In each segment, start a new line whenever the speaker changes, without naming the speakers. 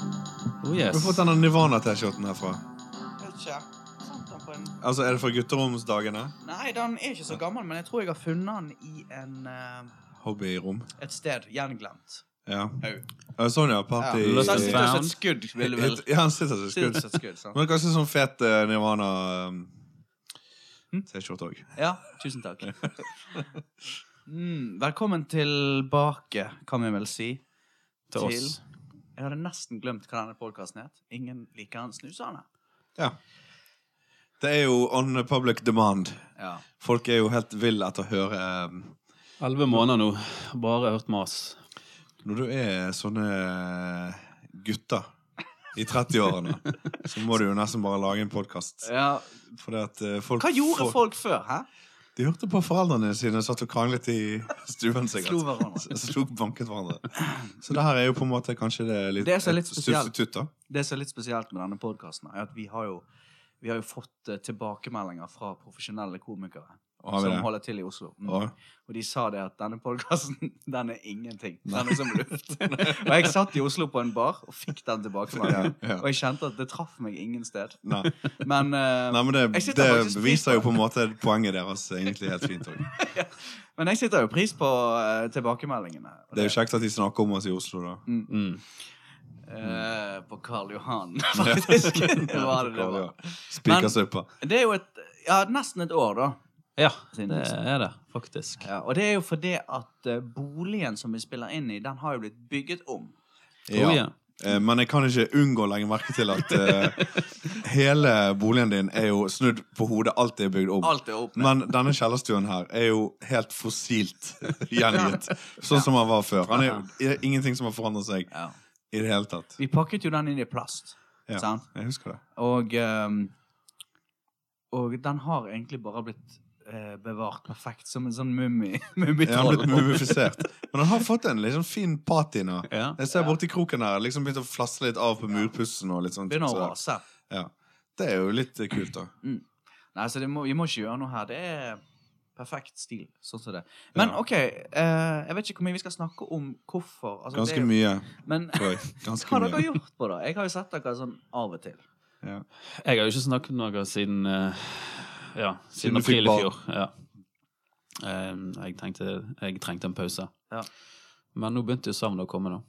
Oh,
Du
yes.
har fått denne Nirvana-T-skjorten herfra.
Vet ikke. Fant den på en
Altså, Er det fra gutteromsdagene?
Nei, den er ikke så gammel, men jeg tror jeg har funnet den i en, eh,
Hobbyrom.
et sted gjenglemt.
Ja.
Au.
Ja, Sånn, ja. Party
Ja.
Lost
Så han
and
sitter og
found.
ser et skudd, vil du vel
Ja, han sitter som
Sitter
skudd.
og ser et skudd, sant?
Men det er ganske sånn fet eh, Nirvana-T-skjorte
Hm?
òg.
Ja, tusen takk. Mm, velkommen tilbake, kan vi vel si.
Til oss.
Jeg hadde nesten glemt hva denne podkasten het. Ingen liker han snusende.
Ja. Det er jo on public demand.
Ja.
Folk er jo helt vill etter å høre eh,
Elleve måneder nå. Bare hørt mas.
Når du er sånne eh, gutter i 30-årene, så må du jo nesten bare lage en podkast.
Ja.
Fordi at eh, folk
Hva gjorde
får-
folk før? hæ?
De hørte på foreldrene sine satt og kranglet i stuen,
Slo
sikkert.
hverandre.
Så slo banket hverandre. Så det her er jo på en måte kanskje det er litt,
Det som er litt
et
spesielt.
substitutt, da.
Det som er litt spesielt med denne podkasten, er at vi har jo, vi har jo fått eh, tilbakemeldinger fra profesjonelle komikere
Og har vi
som
det?
holder til i Oslo. Mm.
Og,
Og de sa det at denne podkasten, den er ingenting. Den er som luft. og jeg satt i Oslo på en bar og fikk den
ja,
tilbakemeldingen.
ja.
Og jeg kjente at det traff meg ingen sted.
Nei.
Men eh,
Nei, men det,
Jeg sitter
det
faktisk pris på-
viser jo på en måte poenget deres egentlig helt fint. også.
Men jeg sitter jo pris på eh, tilbakemeldingene. eh, Og
Det er jo kjekt at de snakker om oss i Oslo, da.
Mm.
eh, på Karl Johan, faktisk. det var det det var.
Spikersuppa.
Det er jo et, ja, nesten et år, da.
Ja,
Siden
det
liksom.
er det faktisk.
Ja, og det er jo fordi at eh, boligen som vi spiller inn i, den har jo blitt bygget om.
Oh, ja.
Eh, Men jeg kan ikke unngå å legge merke til at eh, hele boligen din er jo snudd på hodet. Alt er bygd om.
Alt er opp ned.
Men denne kjellerstuen her er jo helt fossilt gjengitt. Sånn som han var før. Han er jo det er ingenting som har forandret seg
Ja.
i det hele tatt.
Vi pakket jo den inn i plast.
Ja.
Sant?
Jeg husker det.
Og, ehm, og den har egentlig bare blitt eh, bevart perfekt som en sånn mummi.
Jeg har
Mummitroll.
blitt mumifisert. Men han har fått en liksom fin patina.
Ja.
Jeg ser borti kroken her. Liksom begynt å flasse litt av på murpussen og litt sånt.
Begynner å
Så-
rase.
Ja. Det er jo litt eh, kult, da.
Nei, så det må, vi må ikke gjøre noe her. Det er perfekt stil. Sånn som det. Men
Ja.
OK, eh, jeg vet ikke hvor mye vi skal snakke om hvorfor. Altså, det er
Ganske
jo-
mye,
Men
tror jeg.
hva
Ganske
har dere
mye.
gjort på det? Jeg har jo sett dere sånn av og til.
Ja.
Jeg har jo ikke snakket med noe siden eh, Ja,
Siden
siden
du fikk
april i
barn.
fjor. Ja. Em, jeg, tenkte, jeg trengte en pause.
Ja.
Men nå begynte jo savnet å komme, da.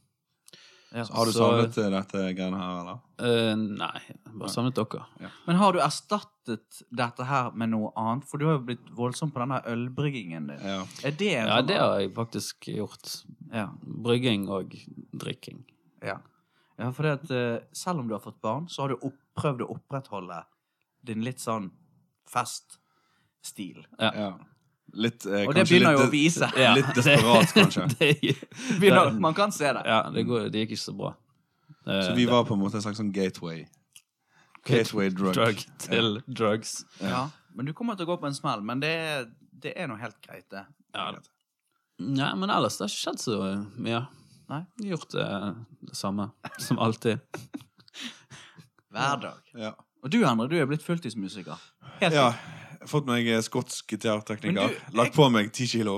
Ja.
Har du
Så-
savnet eh, dette greiene her, eller?
Eh, nei, bare savnet dere.
Men har du erstattet dette her med noe annet? For du har jo blitt voldsom på denne ølbryggingen din.
Ja.
Er det en
Ja,
sånn-
det har jeg faktisk gjort.
ja.
Brygging og drikking.
Ja. ja for at, eh, selv om du har fått barn, så har du opp, prøvd å opprettholde din litt sånn feststil.
ja. Litt, eh,
Og det
kanskje
begynner
litt,
jo å vise.
Ja,
Litt desperat, kanskje.
det,
Begynner, man kan se det.
ja, det, går, det gikk ikke så bra. Eh,
Så vi var på en måte en slags sånn gateway.
Gateway
Gateway drug.
drug til drugs.
Ja. Men du kommer til å gå på en smell. Men det, er- det er nå helt greit, det.
Ja. Nei, men ellers det har ikke skjedd så eh, mye.
Nei.
Gjort det, det samme som alltid.
Hver dag.
Ja.
Og du, Endre, du er blitt fulltidsmusiker. Helt
ja.
riktig.
Jeg har Fått meg eh, skotsk
Men
gitartekniker.
du,
Lagt på meg ti kilo.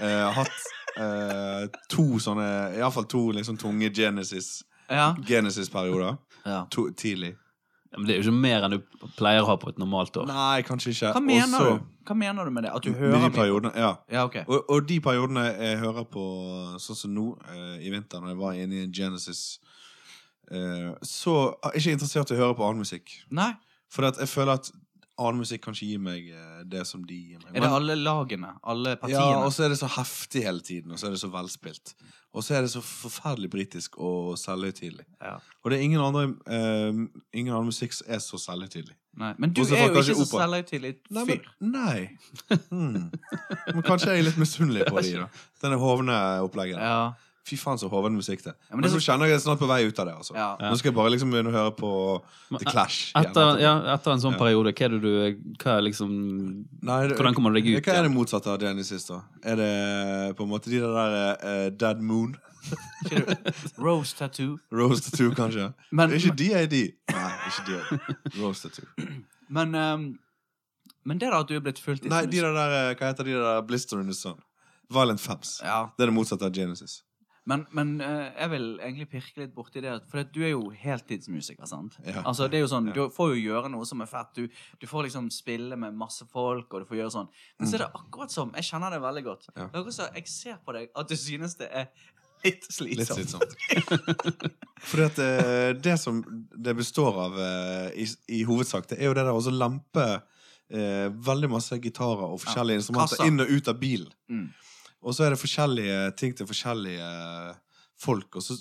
Eh, hatt eh, to sånne Iallfall to liksom tunge Genesis-
Ja.
Genesis-perioder.
Ja.
to, tidlig.
Ja, Men det er jo ikke mer enn du pleier å ha på et normalt år.
Nei, kanskje ikke.
Hva mener
Også-
du? Hva mener du med det? At du
Med
hører
de
mye?
periodene, ja.
Ja, ok.
Og, og de periodene jeg hører på, sånn som nå eh, i vinter, når jeg var inne i en Genesis, eh, så er jeg ikke interessert i å høre på annen musikk.
Nei.
For at jeg føler at annen musikk kan ikke gi meg eh, det som de gir meg.
Er det alle lagene? Alle
ja,
partiene?
og så er det så heftig hele tiden, og så er det så velspilt. Og så er det så forferdelig britisk og selvhøytidelig.
Ja.
Og det er ingen andre eh, Ingen annen musikk som er så selvhøytidelig.
Nei. Men du
Bortsett
er
fra
jo
kanskje
ikke så
opera.
selvhøytidelig
Nei,
fyr.
men, nei. Hmm. men kanskje jeg er litt misunnelig på de, da. Denne hovne opplegget. der.
Ja.
Fy faen, så hoven musikk det.
Ja, men
men
det
så
som-
kjenner jeg det snart på vei ut av det. altså.
Ja.
Nå skal jeg bare liksom begynne å høre på The Clash. igjen
e- Etter,
etterpå.
ja, etter en sånn periode, hva er det du hva er liksom
Nei, det-
Hvordan kommer du deg ut
Hva er
igjen?
det motsatte av Genesis, da? Er det på en måte de der eh, Dead Moon?
Sier du Rose tattoo.
Rose Tattoo, kanskje?
Men-
er ikke de er de? Nei, ikke de. Rose Tattoo.
Men, ehm, men det da at du er blitt fullt
Nei, de der, eh, hva heter de der Blister in the Sun? Violent Femmes.
Ja.
Det er det motsatte av Genesis.
Men, men eh, jeg vil egentlig pirke litt borti det. For at du er jo heltidsmusiker, sant?
Ja.
Altså, det er jo sånn,
Ja.
Du får jo gjøre noe som er fett. Du, du får liksom spille med masse folk, og du får gjøre sånn. Men så er det akkurat som Jeg kjenner det veldig godt.
Mm. Ja.
Det er akkurat som jeg ser på deg at du synes det er litt sånn.
Litt
slitsomt.
slitsomt. Fordi at eh, det som det består av eh, i, i hovedsak, det er jo det der å lampe eh, veldig masse gitarer og forskjellige instrumenter
Kasser.
inn og ut av bilen.
Mm.
Og så er det forskjellige ting til forskjellige folk. Og så,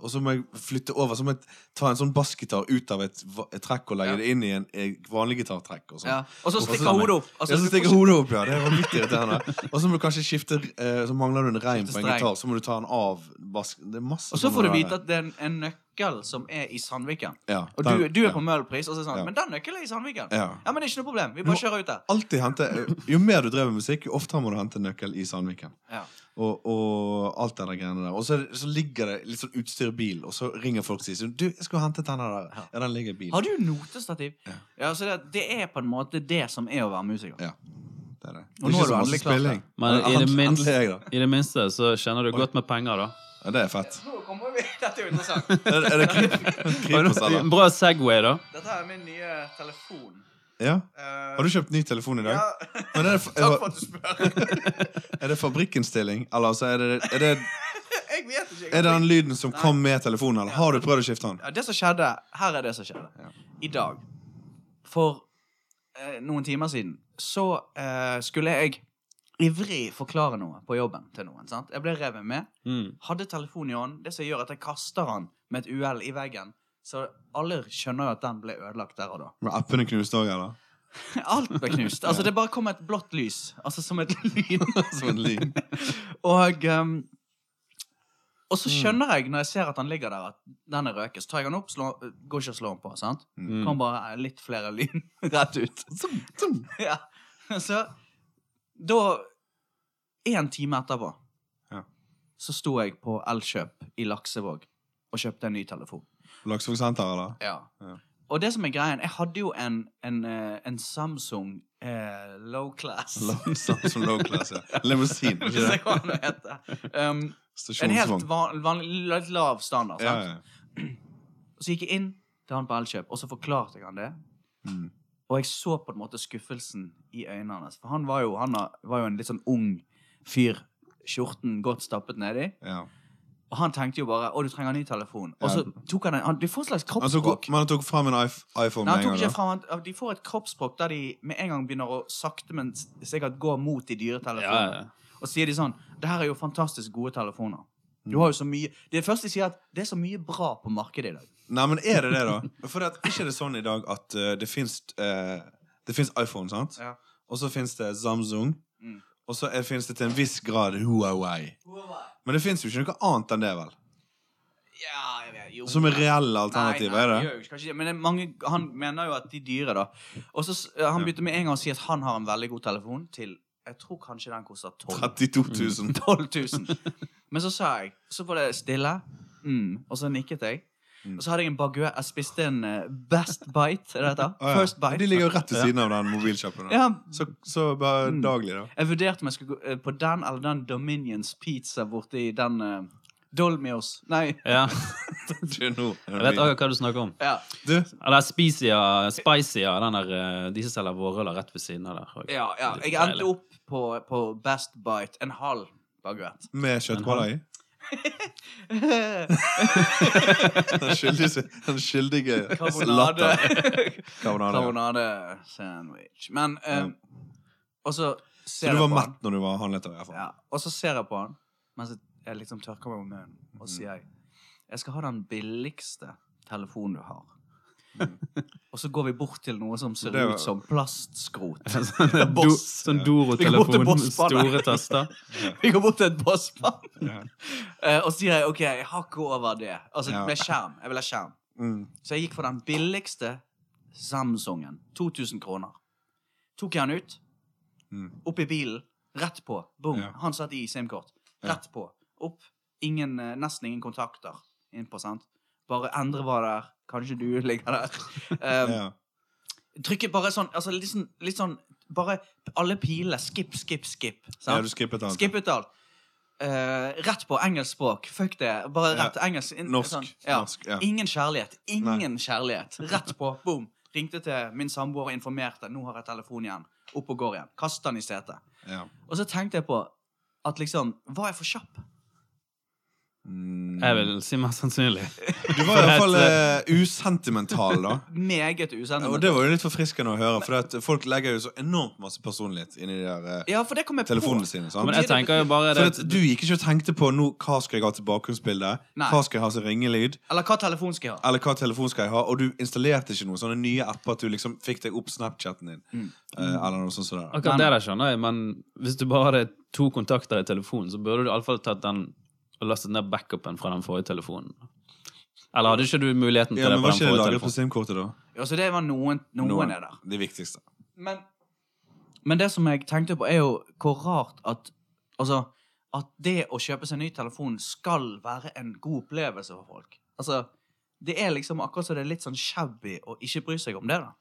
og så må jeg flytte over. Så må jeg ta en sånn bassgitar ut av et, va- et trekk og legge
Ja.
det inn i en en vanlig gitartrekk. Og sånn.
Ja. Og så
Og så-
stikker hodet opp. Altså,
ja, så
du får
stikker
ikke-
hodet opp, ja. Det er vanvittig irriterende. Og så må du kanskje skifte eh, Så mangler du en reim på
Skifte
en
streng.
gitar, så må du ta den av bass... Det er masse
og så får du vite
at
at det er en, en nøkkel som er i Sandviken.
ja,
Og
den-
du, du er
ja.
på Møhlenpris, og så er det sånn
Ja.
Men den nøkkelen er i Sandviken.
Ja.
Ja, men det er ikke noe problem. Vi bare kjører ut der.
Alltid hente Jo mer du drev med musikk, jo oftere må du hente en nøkkel i Sandviken.
Ja.
Og, og alt det der greiene der. Og så, er det- så ligger det litt sånn utstyr i bilen, og så ringer folk og sier sånn, Du, jeg skulle hentet den der.
Ja.
Ja, den ligger i bilen.
Har du notestativ?
Ja.
Ja. så det, det er på en måte det som er å være musiker.
Ja. Det er det.
Og nå
Ikke
er du
så masse
endelig klar.
spilling.
Men i det
Endelig
minste-
er jeg der.
I det minste så tjener du
Oi.
godt med penger, da.
Ja, det er fett.
Nå kommer vi, Dette er jo interessant.
Er, er det Kri- Kripos, eller?
En bra Segway, da.
Dette er min nye telefon. Eh,
Ja? Har du kjøpt ny telefon i dag? Men er, det,
Takk for at du spør.
er det fabrikkinnstilling, eller altså er det, er det,
Jeg vet ikke.
er det den lyden som
Nei.
kom med telefonen, eller har du prøvd å skifte den?
Ja, det som skjedde, her er det som skjedde.
Ja.
I dag, for eh, noen timer siden, så eh, skulle jeg ivrig forklare noe på jobben til noen. sant? Jeg ble revet med.
Mm.
Hadde telefonen i hånden. Det som gjør at jeg kaster han med et uhell i veggen. Så alle skjønner jo at den ble ødelagt der og da.
Med appene knust òg, eller?
Alt ble knust. Altså, det bare kom et blått lys. Altså som et lyn.
Som en lyd.
Og ehm, Og så skjønner jeg, når jeg ser at han ligger der, at den er røket. Så tar jeg han opp, slår, går ikke og slår han på. sant?
Mm.
Kom bare eh, litt flere lyn rett ut. ja. Så da En time etterpå
Ja.
så sto jeg på Elkjøp i Laksevåg og kjøpte en ny telefon.
Laksevåg senter, eller?
Ja.
Ja.
Og det som er greien, jeg hadde jo en, en, eh, en Samsung eh, low class.
Low- Samsung Low Class, ja. Limousin. ikke
Hvis
det?
jeg kan hete. Um, en helt
Stasjonsvogn.
van, vanlig, litt lav standard.
Ja,
Sant?
ja.
Så gikk jeg inn til han på Elkjøp, og så forklarte jeg han det.
Mm.
Og jeg så på en måte skuffelsen i øynene hans. For han var jo, han har- var jo en litt sånn ung fyr. Skjorten godt stappet nedi.
ja.
Og han tenkte jo bare 'Å, du trenger en ny telefon'. Og
Ja.
så tok han en han, Du får et slags
Han tok,
kroppsspråk.
men han tok fram en iPh- iPhone med
Nei, han
en
tok
gang.
ikke
da.
fra han, De får et kroppsspråk der de med en gang begynner å sakte, men s- sikkert gå mot de dyre
Ja,
telefonene.
ja.
Og sier de sånn Det her er jo fantastisk gode telefoner. Du har jo så mye Det første de sier, er at det er så mye bra på markedet i dag.
Nei, men er det det, da? For at, ikke er det sånn i dag at eh, det fins Det fins iPhone, sant?
Ja.
Og så fins det Samsung.
Mm.
Og så fins det til en viss grad Huawei. Men det fins jo ikke noe annet enn det, vel?
Ja, jeg vet, jo.
Som er reelle alternativer,
Nei, nei,
er
gjør
det?
jo ikke- kanskje ikke, Men det er mange, han mener jo at de dyre, da. Og så s- eh, Han begynte med en gang å si at han har en veldig god telefon til Jeg tror kanskje den koster 12
32 000.
12 000. Men så sa jeg Så var det stille, mm, og så nikket jeg.
Mm.
Og så hadde jeg en baguett. Jeg spiste en eh, Best Bite. Er det det heter?
Å, ja.
First Bite.
De ligger jo rett ved siden av den mobilshoppen. da.
ja, Mm.
Så, så bare daglig, da.
jeg vurderte om jeg skulle gå eh, på den eller den Dominions pizza borti den eh, Dolmios. Nei.
ja.
Ikke nå.
Jeg vet akkurat hva du snakker om.
Ja.
Du,
Eller Spizia, Spizia, den der, eh, de som selger vårruller rett ved siden av der.
Ja, ja.
Litt
Jeg endte
deilig.
opp på, på Best Bite. En halv baguett.
med kjøttkåler i?
Karbonade.
Den skyldige, den skyldige latter. Karbonade. ja.
Karbonade sandwich. Men eh,
Ja.
Og så
Så
ser
du
jeg
var
på han.
mett når du var handlet? i hvert fall.
Ja, og så ser jeg på han mens jeg liksom tørker meg om munnen,
Mhm.
og sier jeg Jeg skal ha den billigste telefonen du har. Og så går vi bort til noe som ser
Mhm. Det var-
ut som plastskrot.
Du, sånn
Ligger
Doro-telefon,
borte på spannet.
store taster.
Vi går bort til et bossmann,
Ja.
eh, og sier jeg, OK, jeg hakker over det. Altså
Ja.
med skjerm. Jeg vil ha skjerm.
Mm.
Så jeg gikk for den billigste Samsungen. 2000 kroner. Tok jeg den ut,
Mm.
opp i bilen, rett på. Boom.
Ja.
Han satt i SIM-kort. Rett på. Opp. Ingen, eh, nesten ingen kontakter innpå, sant. Bare Endre var der. Kanskje du ligger der. Um,
Ja.
Trykket bare sånn, altså litt sånn, litt sånn Bare alle pilene. Skip, skip, skip.
ja,
Sant?
du skippet alt.
Skippet alt. eh, rett på engelsk språk. Fuck det. Bare
Ja.
rett engelsk. inn-
Norsk.
sånn. Ja.
norsk ja.
Ingen kjærlighet. Ingen kjærlighet. Rett på. Boom. Ringte til min samboer og informerte. Nå har jeg telefon igjen. Opp og går igjen. Kasta den i setet.
Ja.
Og så tenkte jeg på at liksom Var jeg for kjapp?
Mm.
Jeg vil si mest sannsynlig.
Du var i hvert fall eh, usentimental, da.
Meget
Og det
usendende.
var jo litt forfriskende å høre, for at folk legger jo så enormt masse personlighet inn i de der eh,
Ja, for det kom jeg
telefonene
på.
sine.
Men
sant?
jeg tenker jo bare
For
det
Sånn at du gikk ikke og tenkte på nå, hva skal jeg ha til bakgrunnsbilde,
Nei.
hva skal jeg ha som ringelyd,
Eller hva telefon skal jeg ha?
eller hva telefon skal jeg ha, og du installerte ikke noen sånne nye apper at du liksom fikk deg opp Snapchaten din.
Mm.
eh, eller noe sånt som det.
Akkurat det der skjønner jeg, men hvis du bare hadde to kontakter i telefonen, så burde du iallfall tatt den og lastet ned backupen fra den forrige telefonen. Eller hadde ikke du muligheten til
Ja,
det
men
på
Var
den
ikke det
forrige
lagret på
telefonen?
SIM-kortet, da?
Ja, så det var noen, noen, er der.
Det viktigste.
Men, men det som jeg tenkte på, er jo hvor rart at Altså, at det å kjøpe seg ny telefon skal være en god opplevelse for folk. Altså, det er liksom akkurat som det er litt sånn shabby å ikke bry seg om det, da.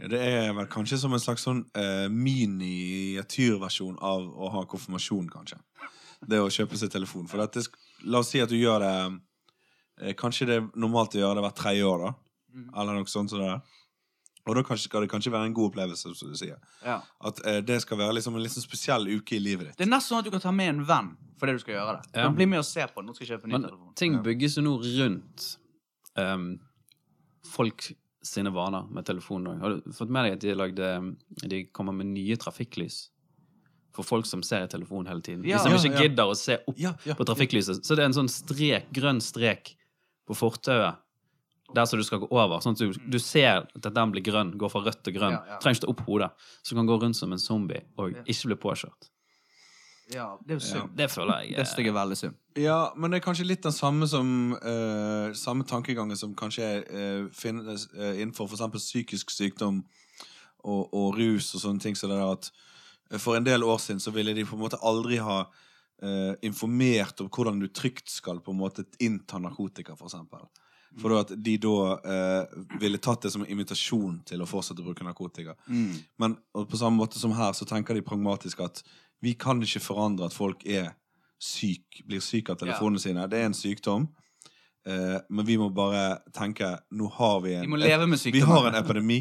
Ja, Det er vel kanskje som en slags sånn eh, miniatyrversjon av å ha konfirmasjon, kanskje. Det å kjøpe seg telefon. For at det, sk- la oss si at du gjør det eh, Kanskje det er normalt å gjøre det hvert tredje år, da. Eller noe sånt som det der. Og da kanskje, skal det kanskje være en god opplevelse, som du sier.
Ja.
At eh, det skal være liksom en litt sånn spesiell uke i livet ditt.
Det er nesten sånn at du kan ta med en venn fordi du skal gjøre det.
Ja.
Men bli med og se på. Nå skal jeg kjøpe en ny
Men
telefon.
ting
Ja.
bygges jo nå rundt um, folk sine vaner med telefonen òg. Har du fått med deg at de, lagde, de kommer med nye trafikklys for folk som ser i telefonen hele tiden?
Ja.
de som
Ja,
ikke
ja.
gidder å se opp
Ja, ja.
på trafikklyset. Så det er en sånn strek, grønn strek på fortauet. Der som du skal gå over. Sånn at du, du ser at den blir grønn, går fra rødt til grønn.
Mm. Ja, ja.
Trenger ikke ta opp hodet. Så du kan gå rundt som en zombie og
Ja.
ikke bli påkjørt.
Ja, det er jo synd.
Det føler jeg
Det
eh,
stygge er veldig synd.
Ja, men det er kanskje litt den samme som eh, Samme tankegangen som kanskje eh, finnes eh, innenfor f.eks. psykisk sykdom og, og rus og sånne ting. Så det er at eh, For en del år siden så ville de på en måte aldri ha eh, informert om hvordan du trygt skal på en måte innta narkotika, f.eks. For, eksempel. for at de da eh, ville tatt det som en invitasjon til å fortsette å bruke narkotika.
Mm.
Men og på samme måte som her, så tenker de pragmatisk at vi kan ikke forandre at folk er syk, blir syke av telefonene sine. Det er en sykdom. Eh, men vi må bare tenke Nå har vi en,
Vi må leve med
vi har en
sykdommen.
epidemi,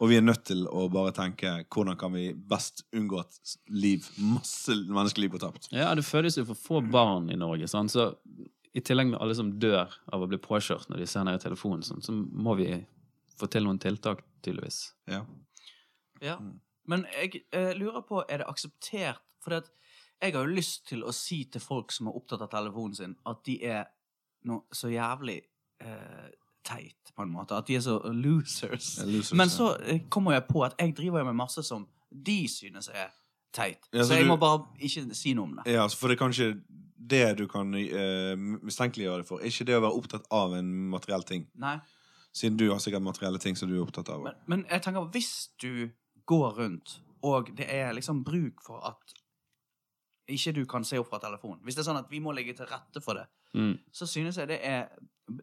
og vi er nødt til å bare tenke hvordan kan vi best unngå at s- liv, masse menneskeliv går tapt.
Ja, det fødes jo for få barn i Norge, sant? så i tillegg med alle som dør av å bli påkjørt når de ser ned i telefonen, sånn, så må vi få til noen tiltak, tydeligvis.
Ja.
Ja.
Mm.
Men jeg eh, lurer på, er det akseptert? For at jeg har jo lyst til å si til folk som er opptatt av telefonen sin, at de er noe så jævlig eh, teit, på en måte. At de er så losers.
Jeg luser
Men
ikke.
så eh, kommer jeg på at jeg driver jo med masse som de synes er teit.
Ja,
så,
så
jeg
du-
må bare ikke si noe om det.
Ja, altså, for det er kanskje det du kan eh, mistenkeliggjøre det for. Er ikke det å være opptatt av en materiell ting.
Nei.
Siden du har sikkert materielle ting som du er opptatt av.
Men, men jeg tenker, hvis du går rundt, og det er liksom bruk for at ikke du kan se opp fra telefonen Hvis det er sånn at vi må legge til rette for det,
Mm.
så synes jeg det er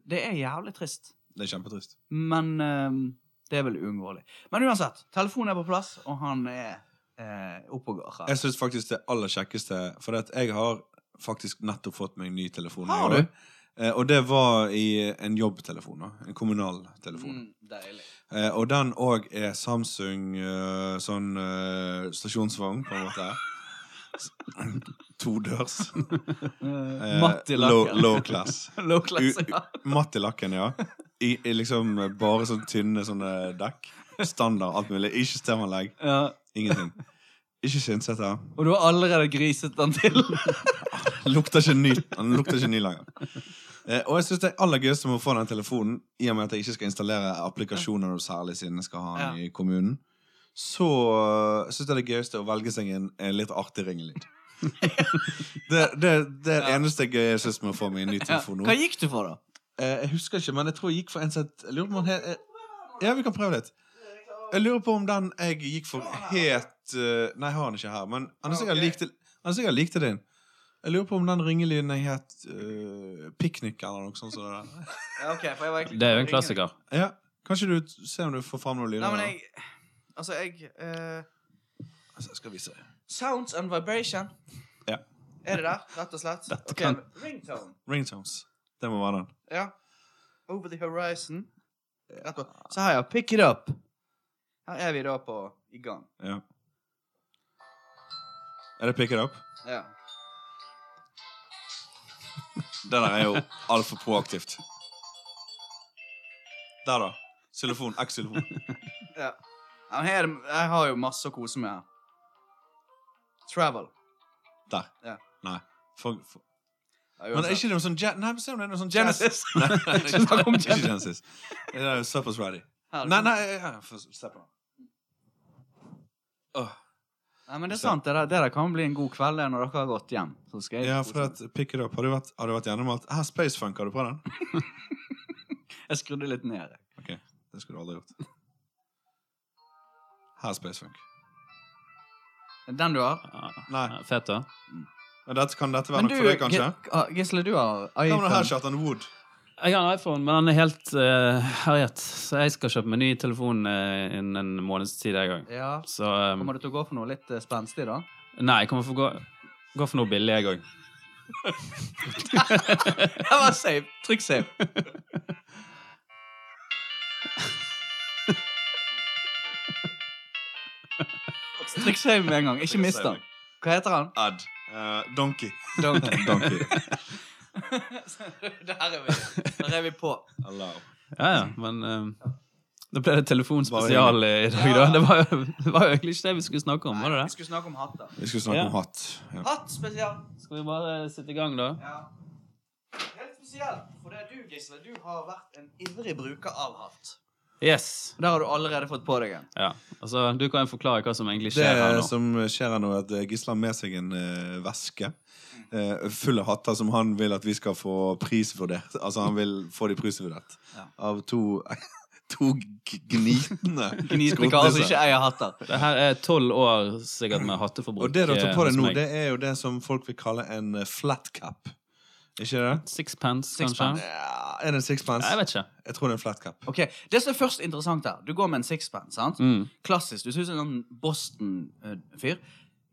Det er jævlig trist.
Det er kjempetrist.
Men ehm, det er vel uunngåelig. Men uansett, telefonen er på plass, og han er eh, oppe og går. her.
Jeg syns faktisk det aller kjekkeste For at jeg har faktisk nettopp fått meg en ny telefon. i
Har
år.
du?
Eh, Og det var i en jobbtelefon. da, En kommunal telefon.
Mm, deilig.
Eh, Og den òg er Samsung eh, sånn eh, stasjonsvogn, på en måte. Todørs. Eh,
matt i
Low,
lakken.
low class.
Low class,
U-
ja.
Matt i lakken, ja. I, i liksom eh, bare sånn tynne sånne dekk. Standard, alt mulig. Ikke stemanlegg.
ja.
Ingenting. Ikke Synsete.
Og du har allerede griset den til.
lukter ikke ny, han lukter ikke ny lenger. Eh, og jeg synes det er aller gøyeste med å få den telefonen, i og med at jeg ikke skal installere applikasjoner, og særlig siden jeg skal ha den i kommunen, så eh, synes jeg det er gøyeste å velge seg en, en litt artig ringelyd. det, det, det er det eneste gøye jeg synes med å få meg en ny
Ja.
telefon nå.
Hva gikk du for, da?
Eh, jeg husker ikke, men jeg tror jeg gikk for en sett Jeg lurer på om han he- eh, Ja, vi kan prøve litt. Jeg lurer på om den jeg gikk for het eh, Nei, jeg har den ikke her, men han er
Ah,
sikkert lik til- han er sikkert lik til din. Jeg lurer på om den ringelyden jeg het eh, Piknik eller noe sånt. som det der.
Ja, ok, for jeg var egentlig-
Det er jo en klassiker.
Ja, Kanskje du t- ser om du får fram noen lyder?
Nei, men
da?
jeg Altså, jeg eh,
Altså, jeg skal vise.
Sounds and vibration.
Ja.
Er det der, rett og slett?
Dette
Ok,
kan-
Ringtone.
Ringtones. Det må være den.
Ja. Over the horizon. Rett på. Så her, ja. Pick it up. Her er vi da på i gang.
Ja. Er det Pick It Up?
Ja.
Det der er jo altfor proaktivt. Der, da. Xylofon. X-xylofon.
ja. ja men her, jeg har jo masse å kose med her. Travel.
Der.
Ja.
Nei. For, for.
Ja,
Men er
uansett.
ikke det noe sånn ja, Nei, men se om det er noe sånn jazz-
Genesis.
Nei, det er
Ikke snakk om
ikke
Genesis.
Genesis. Det er jo Suppers Ready.
Her, sånn.
Nei, nei ja, få se på den. Åh,
Nei, men det er sant. Det der, det der kan bli en god kveld det, når dere har gått hjem. Så skal jeg,
ja, for at Pick It Up Har du vært, har du vært gjennom alt? Her, Space Funk, har du på den?
jeg skrudde litt ned. jeg.
Ok, Det skulle du aldri gjort. Her, Space Funk.
Den du har.
Ja,
Nei.
ja, Fet, da.
Men dette, kan dette være
Men
nok
du,
for deg, kanskje?
Gi- ah, Gisle, du har
Hva med
iPhone.
den her, Kjartan Wood?
Jeg har en iPhone, men den er helt eh, herjet. Så jeg skal kjøpe meg ny telefon eh, innen en måneds tid en gang.
Ja.
Så eh,
Kommer du til å gå for noe litt eh, spenstig, da?
Nei, jeg kommer til å gå, gå for noe billig, jeg òg.
Det var safe. Trykk safe. Trykk save med en gang. Ikke mist den. Hva heter han?
Ad. Eh, donkey.
Donkey.
Donkey.
Der er vi. Der er vi på.
Allow.
Ja, ja, men eh, da ble det telefonspesial i dag, da.
Ja.
Det var, jo- det var jo egentlig ikke det vi skulle snakke om, var det
Vi
det?
skulle snakke om hatter.
Vi skulle snakke
Ja.
om hatt. Ja.
Hatt spesielt.
Skal vi bare sitte i gang, da?
Ja. Helt spesielt, for det er du, Gisle. Du har vært en ivrig bruker av hatt.
Yes.
Der har du allerede fått på deg en.
Ja, altså Du kan forklare hva som egentlig
Det
skjer her nå.
som skjer her nå, er at Gisle har med seg en eh, veske eh, full av hatter som han vil at vi skal få prisvurdert. Altså, han vil få de prisvurdert
Ja.
av to To g- gnitende
Gnitende karer som Altså, ikke eier hatter.
Det her er tolv år sikkert med hatteforbruk.
Og det du tar på
eh,
deg
hos
nå,
meg.
det er jo det som folk vil kalle en eh, flat cap. Ikke det?
Sixpence, kanskje?
Sixpence.
Ja, er det en
Nei, jeg
sixpence?
vet ikke.
Jeg tror det er en flat cap.
Ok, Det som er først interessant her Du går med en sixpence. sant?
Mm.
Klassisk. Du ser ut som en sånn Boston-fyr.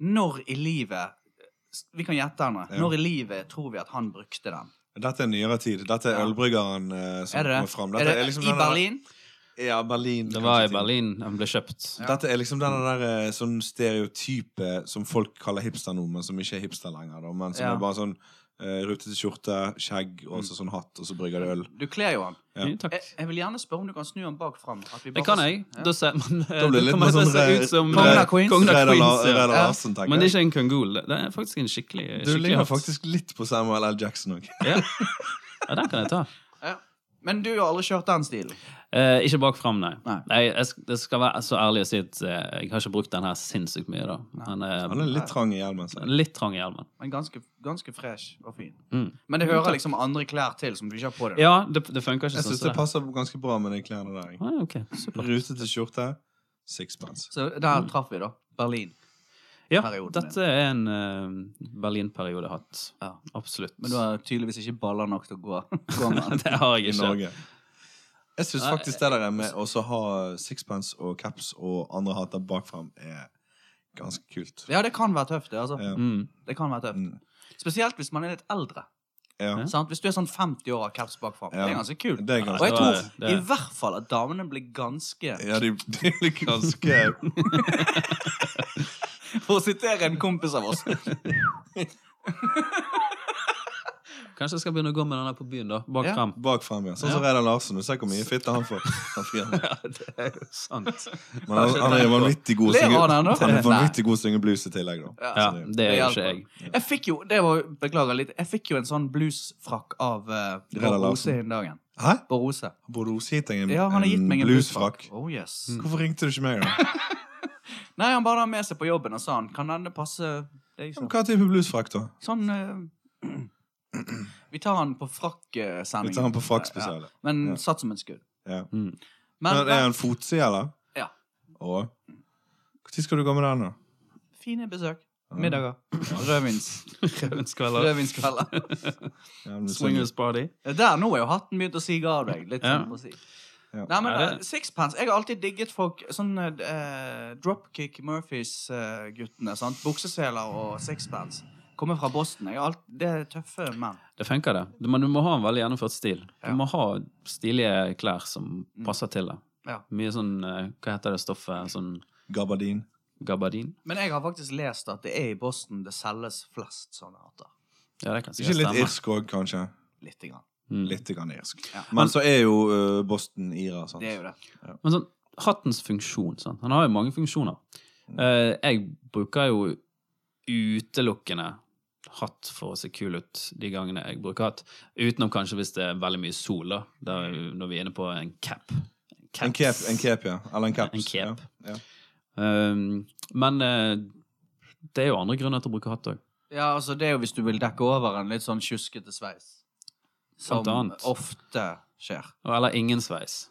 Når i livet Vi kan gjette henne.
Ja.
Når i livet tror vi at han brakte den?
Dette er nyere tid. Dette er
Ja.
ølbryggeren eh, som
Er det
kommer
det?
fram.
Er
Dette
det
liksom
I
den der-
Berlin?
Ja, Berlin.
Det var i
kanskje, ting.
Berlin den ble kjøpt.
Ja.
Dette er liksom den der eh, sånn stereotype som folk kaller hipster nå, men som ikke er hipster lenger. Da, men som
Ja.
er bare sånn eh, rutete skjorte, skjegg og
Mm.
så sånn hatt, og så brygger de øl.
Du kler jo han.
Ja. Eh,
Jo, Takk.
Jeg, jeg vil gjerne spørre om du kan snu han bak fram. at vi
Det
bare-
kan jeg. Da
Ja.
ser man eh,
Da blir det
det
litt
kommer
mer
til å
sånn
se
re-
ut som
re-
Kongen av Queens.
Kongen av
Reidar La-
Queens, ja.
Reidar
Ja.
Larsen, tenker
Men det er
jeg.
ikke en kangol. Det er faktisk en skikkelig
Du
skikkelig
ligner
hatt.
faktisk litt på Samuel L. Jackson òg.
Ja. ja, den kan jeg ta.
Ja. Men du har aldri kjørt den stilen.
Eh, ikke bak fram, nei.
Nei.
Jeg, jeg, sk- jeg skal være så ærlig å si at eh, jeg har ikke brukt den her sinnssykt mye. da. Han er,
Han er litt trang i hjelmen.
den
Så.
er litt trang i hjelmen.
Men ganske, ganske fresh og fin.
Mm.
Men det hører liksom andre klær til som du ikke har på deg.
Ja, det, det funker ikke
Jeg
sånn
syns
som det.
det passer ganske bra med de klærne der. jeg.
Ah, ok, supert.
Rutete skjorte, sixpence.
Så der traff vi, da. Berlin.
Ja,
Perioden din.
dette er en eh, Berlin-periode hatt.
Ja.
Absolutt.
Men du har tydeligvis ikke baller nok til å gå, gå med den.
det har jeg
i
ikke.
Norge. Jeg syns
Nei,
faktisk det der er med å så ha sixpence og caps og andre hatter bakfram er ganske kult.
Ja, det kan være tøft, det. altså.
Ja.
Mm.
Det kan være tøft.
Mm.
Spesielt hvis man er litt eldre.
Ja.
Ja.
Sant? Hvis du er sånn 50 år og har caps bakfra.
Ja.
Det er ganske kult.
Det er
Og
ganske
jeg
det
tror
er- det er-
i hvert fall at damene blir ganske
Ja, de, de er ganske
For å sitere en kompis av oss.
Kanskje jeg skal begynne å gå med den her på byen, da. Bak
Ja.
fram.
bakfram. Ja. Sånn som Reidar Larsen. Du ser hvor mye fitte han får. Han frier med.
det er jo sant.
Men han, han er vanvittig god å
Ler
synge,
han ennå?
han er vanvittig god å synge blues i tillegg, da.
Ja.
Ja,
Så det-
det er jo
hjelper.
ikke jeg.
Jeg fikk jo det var, Beklager litt. Jeg fikk jo en sånn bluesfrakk av uh,
Reidar
Bård Rose
Larsen.
den dagen.
Hæ?
Bård Rose.
Burde Rose gitt deg en,
Ja, han har gitt
en
meg en
bluesfrakk? Mm.
bluesfrakk. Oh, yes.
Hvorfor ringte du ikke meg, da?
Nei, han bare har med seg på jobben og sa han kan denne passe deg
Ja, men
sånn.
Hva type bluesfrakk, da?
Sånn eh, Vi tar han på
Vi
frakksendingen.
tar han på frakkspesialet.
Ja, men
Ja.
satt som et skudd.
Ja.
Mm.
Men,
Men er han fotside, eller?
Ja.
Å? Når skal du gå med den, da?
fine besøk. Middager. Rødvins.
Rødvinskvelder.
Rødvinskvelder.
Ja, men du synger-
Swingers party.
Der nå er jo hatten begynt å sige av deg. Litt
Ja.
sånn å si.
Ja.
Nei, men
Ja, det-
eh, Sixpence Jeg har alltid digget folk sånn eh, Dropkick Murphys-guttene. sant? Bukseseler og sixpence. Kommer fra Boston. Jeg har alt, det er tøffe menn.
Det funker, det. Du- Men du må ha en veldig gjennomført stil. Du
Ja.
må ha stilige klær som
Mm.
passer til det.
Ja.
Mye sånn eh, Hva heter det stoffet? Sånn
Gabardin.
gabardin?
Men jeg har faktisk lest at det er i Boston det selges flest sånne hatter.
Ja, det kan
Ikke
sikkert
litt
stemme.
irsk òg, kanskje?
Lite grann.
Mm.
Litt grann irsk.
Ja.
Men så er jo eh, Boston ira, sant?
Det er jo det.
Men sånn, hattens funksjon sant? Han har jo mange funksjoner.
Mm.
Eh, jeg bruker jo utelukkende hatt for å se kul ut de gangene jeg bruker hatt. Utenom kanskje hvis det er veldig mye sol, da. da er vi- når vi er inne på en cap.
En cape, en cape, ja. Eller en caps.
En cape.
Ja. Ja.
Um, men eh, det er jo andre grunner til å bruke hatt òg.
Ja, altså det er jo hvis du vil dekke over en litt sånn tjuskete sveis. Som
Blant annet.
ofte skjer.
Eller ingen sveis.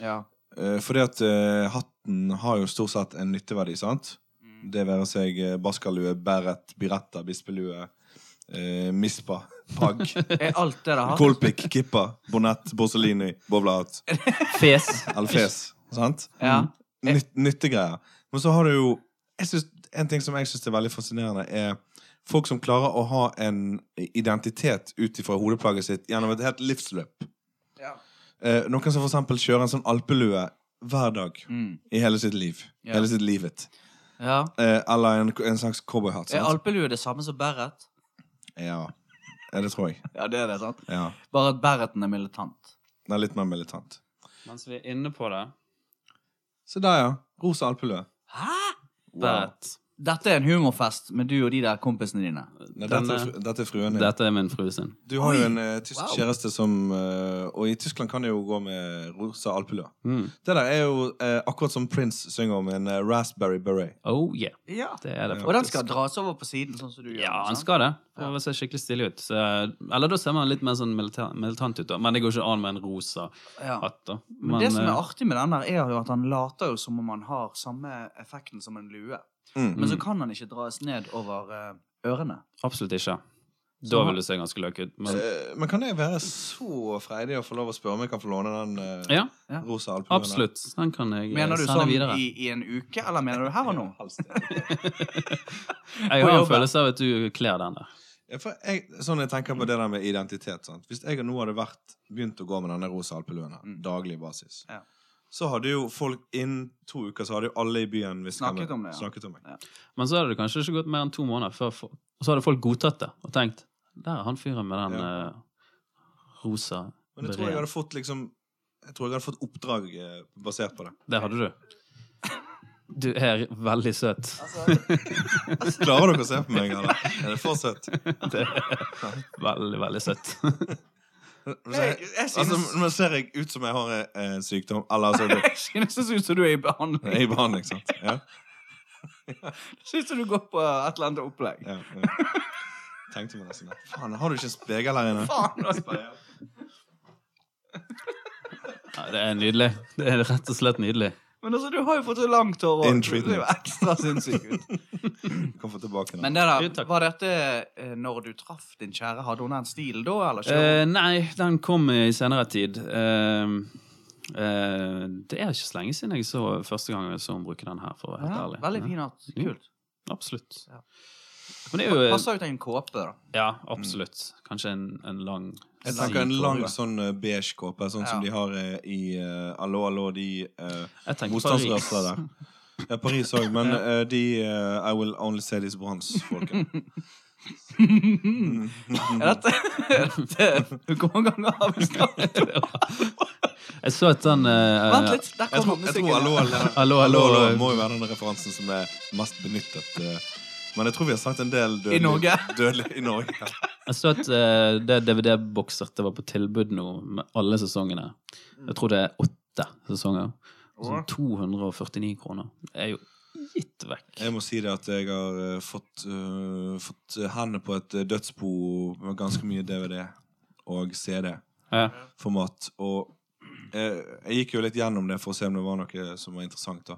Ja.
Eh, fordi at eh, hatten har jo stort sett en nytteverdi, sant? Det være seg eh, baskalue, beret, biretta, bispelue, eh, mispa, pagg,
Er alt det det har?
kolpik, kippa, bonett, borsellini, bowlehatt,
Fes.
alfes. Sant?
Ja.
Nyt, nyttegreier. Men så har du jo jeg synes, En ting som jeg syns er veldig fascinerende, er folk som klarer å ha en identitet ut ifra hodeplagget sitt gjennom et helt livsløp.
ja.
Eh, noen som for eksempel kjører en sånn alpelue hver dag
Mm.
i hele sitt liv.
Ja.
Hele sitt livet.
ja.
Eh, eller en, en slags cowboyhatt.
Er
sant?
alpelue det samme som beret?
Ja. ja, det tror jeg.
Ja, det er det, sant?
Ja.
Bare at bereten er militant.
Det er litt mer militant.
Mens vi er inne på det
Se der, ja. Rosa alpelue.
Hæ?
Bert,
Dette er en humorfest med du og de der kompisene dine.
Nei,
Den
dette, er,
er-
fru- dette er fruen din.
Dette er min frue sin.
Du har jo
Oi.
en eh, tysk
Wow.
kjæreste som eh, Og i Tyskland kan det jo gå med rosa alpelue.
Mm.
Det der er jo eh, akkurat som Prince synger om en eh, raspberry beret.
Oh yeah.
Ja.
Det er det faktisk.
Og den skal dras over på siden, sånn som du gjør.
Ja, han
sant?
skal det. For å se skikkelig stilig ut. Så, eller da ser man litt mer sånn milita- militant ut, da. Men det går ikke an med en rosa
Ja.
hatt, da.
Men, det som er
eh,
artig med den der, er jo at han later jo som om han har samme effekten som en lue.
Mm.
Men så kan han ikke dras ned over eh, ørene.
absolutt ikke. Da
Så-
vil du se ganske løk ut. Men
Eh, men kan jeg være så freidig å få lov å spørre om jeg kan få låne den eh,
ja,
Ja.
rosa alpeluen?
absolutt. Den kan jeg eh,
Mener du
sende
sånn
videre.
i, i en uke, eller mener du her og nå?
Helst det.
Jeg har
på
en
jobben?
følelse av at du kler den der.
Ja, for jeg, sånn jeg tenker på det der med identitet sant? Hvis jeg nå hadde vært, begynt å gå med denne rosa alpeluen her,
Mm.
daglig basis,
Ja.
så hadde jo folk innen to uker så hadde jo alle i byen visst hvem
Snakket
jeg-
om det, ja.
snakket om meg.
Men så hadde det kanskje ikke gått mer enn to måneder før fo- Og så hadde folk godtatt det og tenkt Der er han fyren med den
Ja.
eh, rosa
Men jeg tror jeg
bereten."
hadde fått liksom Jeg tror jeg hadde fått oppdrag eh, basert på det.
Det hadde du. Du er veldig søt.
Klarer dere å se på meg, eller? Er det for søtt?
Det er veldig, veldig søtt.
Jeg, jeg
Altså,
synes
nå ser jeg ut som jeg har eh, en sykdom, eller altså det-
jeg synes det ser ut som du er i behandling.
Jeg er i behandling, sant? Ja,
Det ser ut som du går på et eller annet opplegg.
ja, ja. Tenkte meg nesten det. Faen, har du ikke en spegel her inne?
Faen, altså.
Ja, det er nydelig. Det er rett og slett nydelig.
Men altså, du har jo fått så langt hår.
In
og Du ser
treatment.
jo ekstra sinnssyk ut.
Kan få tilbake den.
Men det
Jo,
der,
takk.
var dette eh, når du traff din kjære? Hadde hun den stilen da, eller kjører
Eh, nei, den kom i senere tid. Eh, eh, det er ikke så lenge siden jeg så første gang jeg så henne bruke den her, for å være
hun?
helt
Ja,
ærlig.
veldig
Ja, Mm.
fin hatt. Kult.
Absolutt.
Ja.
Men det er jo
Passer ut en kåpe, da.
Ja, absolutt. Kanskje en, en lang
Jeg tenker en lang
sidekåpe.
sånn eh, beige kåpe, sånn som
Ja.
de har eh, i eh, Allo, allo, de uh,
Jeg tenker
motstandsrørsla
Paris.
der. Ja, Paris òg, men eh, de eh, I will only say this once, folket.
Er dette, dette Hvor mange ganger har vi
Eh,
snakket om
Jeg så at den eh,
Vent litt, der
Jeg tror, jeg
kommer
tror
musikken.
allo, allo,
Allo,
allo,
allo,
allo må jo være den referansen som er mest benyttet. eh, men jeg tror vi har sagt en del dødelig,
I Norge.
dødelig i Norge.
Jeg så at eh, det DVD-bokser det var på tilbud nå, med alle sesongene. Jeg tror det er åtte sesonger. Sånn 249 kroner. Det er jo gitt vekk.
Jeg må si det at jeg har eh, fått, eh, fått hendene på et eh, dødsbo med ganske mye DVD og CD.
Ja.
format. Og jeg, jeg gikk jo litt gjennom det for å se om det var noe som var interessant. da.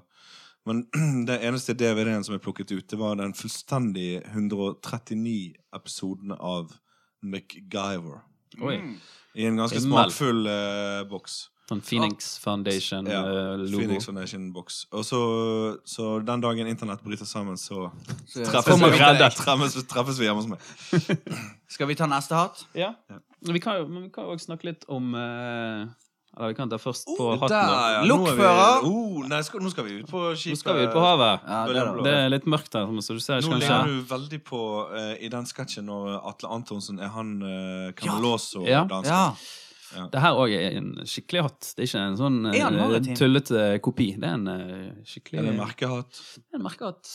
Men den eneste DVD-en som jeg plukket ut, det var den fullstendig 139 episoden av MacGyver.
Oi.
Mm.
I en ganske
Himmel.
smakfull eh, boks.
Sånn Phoenix Foundation,
Ja,
eh, logo.
Phoenix Foundation-boks. Og så, så den dagen internett bryter sammen, så
Så-
Treffer
Kommer vi til
reddet.
deg.
treffes, treffes vi hjemme hos meg.
Skal vi ta neste hatt?
Ja. Men vi kan jo men vi kan jo også snakke litt om eh, Eller vi kan ta først på
Der,
hatten. da.
ja. Nå er vi-
Lokfører.
Oh, nei, skal, nå skal vi ut på
Nå
skipet.
skal vi ut på havet.
Ja, det er det.
Det er litt mørkt her, så du ser
Nå
ikke
ligger
kanskje.
du veldig på eh, i den sketsjen når Atle Antonsen er han uh, Camelås og
Ja.
dansker.
Ja.
Det her òg er en skikkelig hatt. Det er ikke en sånn eh,
Er han maritim?
tullete kopi. Det er en eh, skikkelig
Eller merkehatt.
en merkehatt.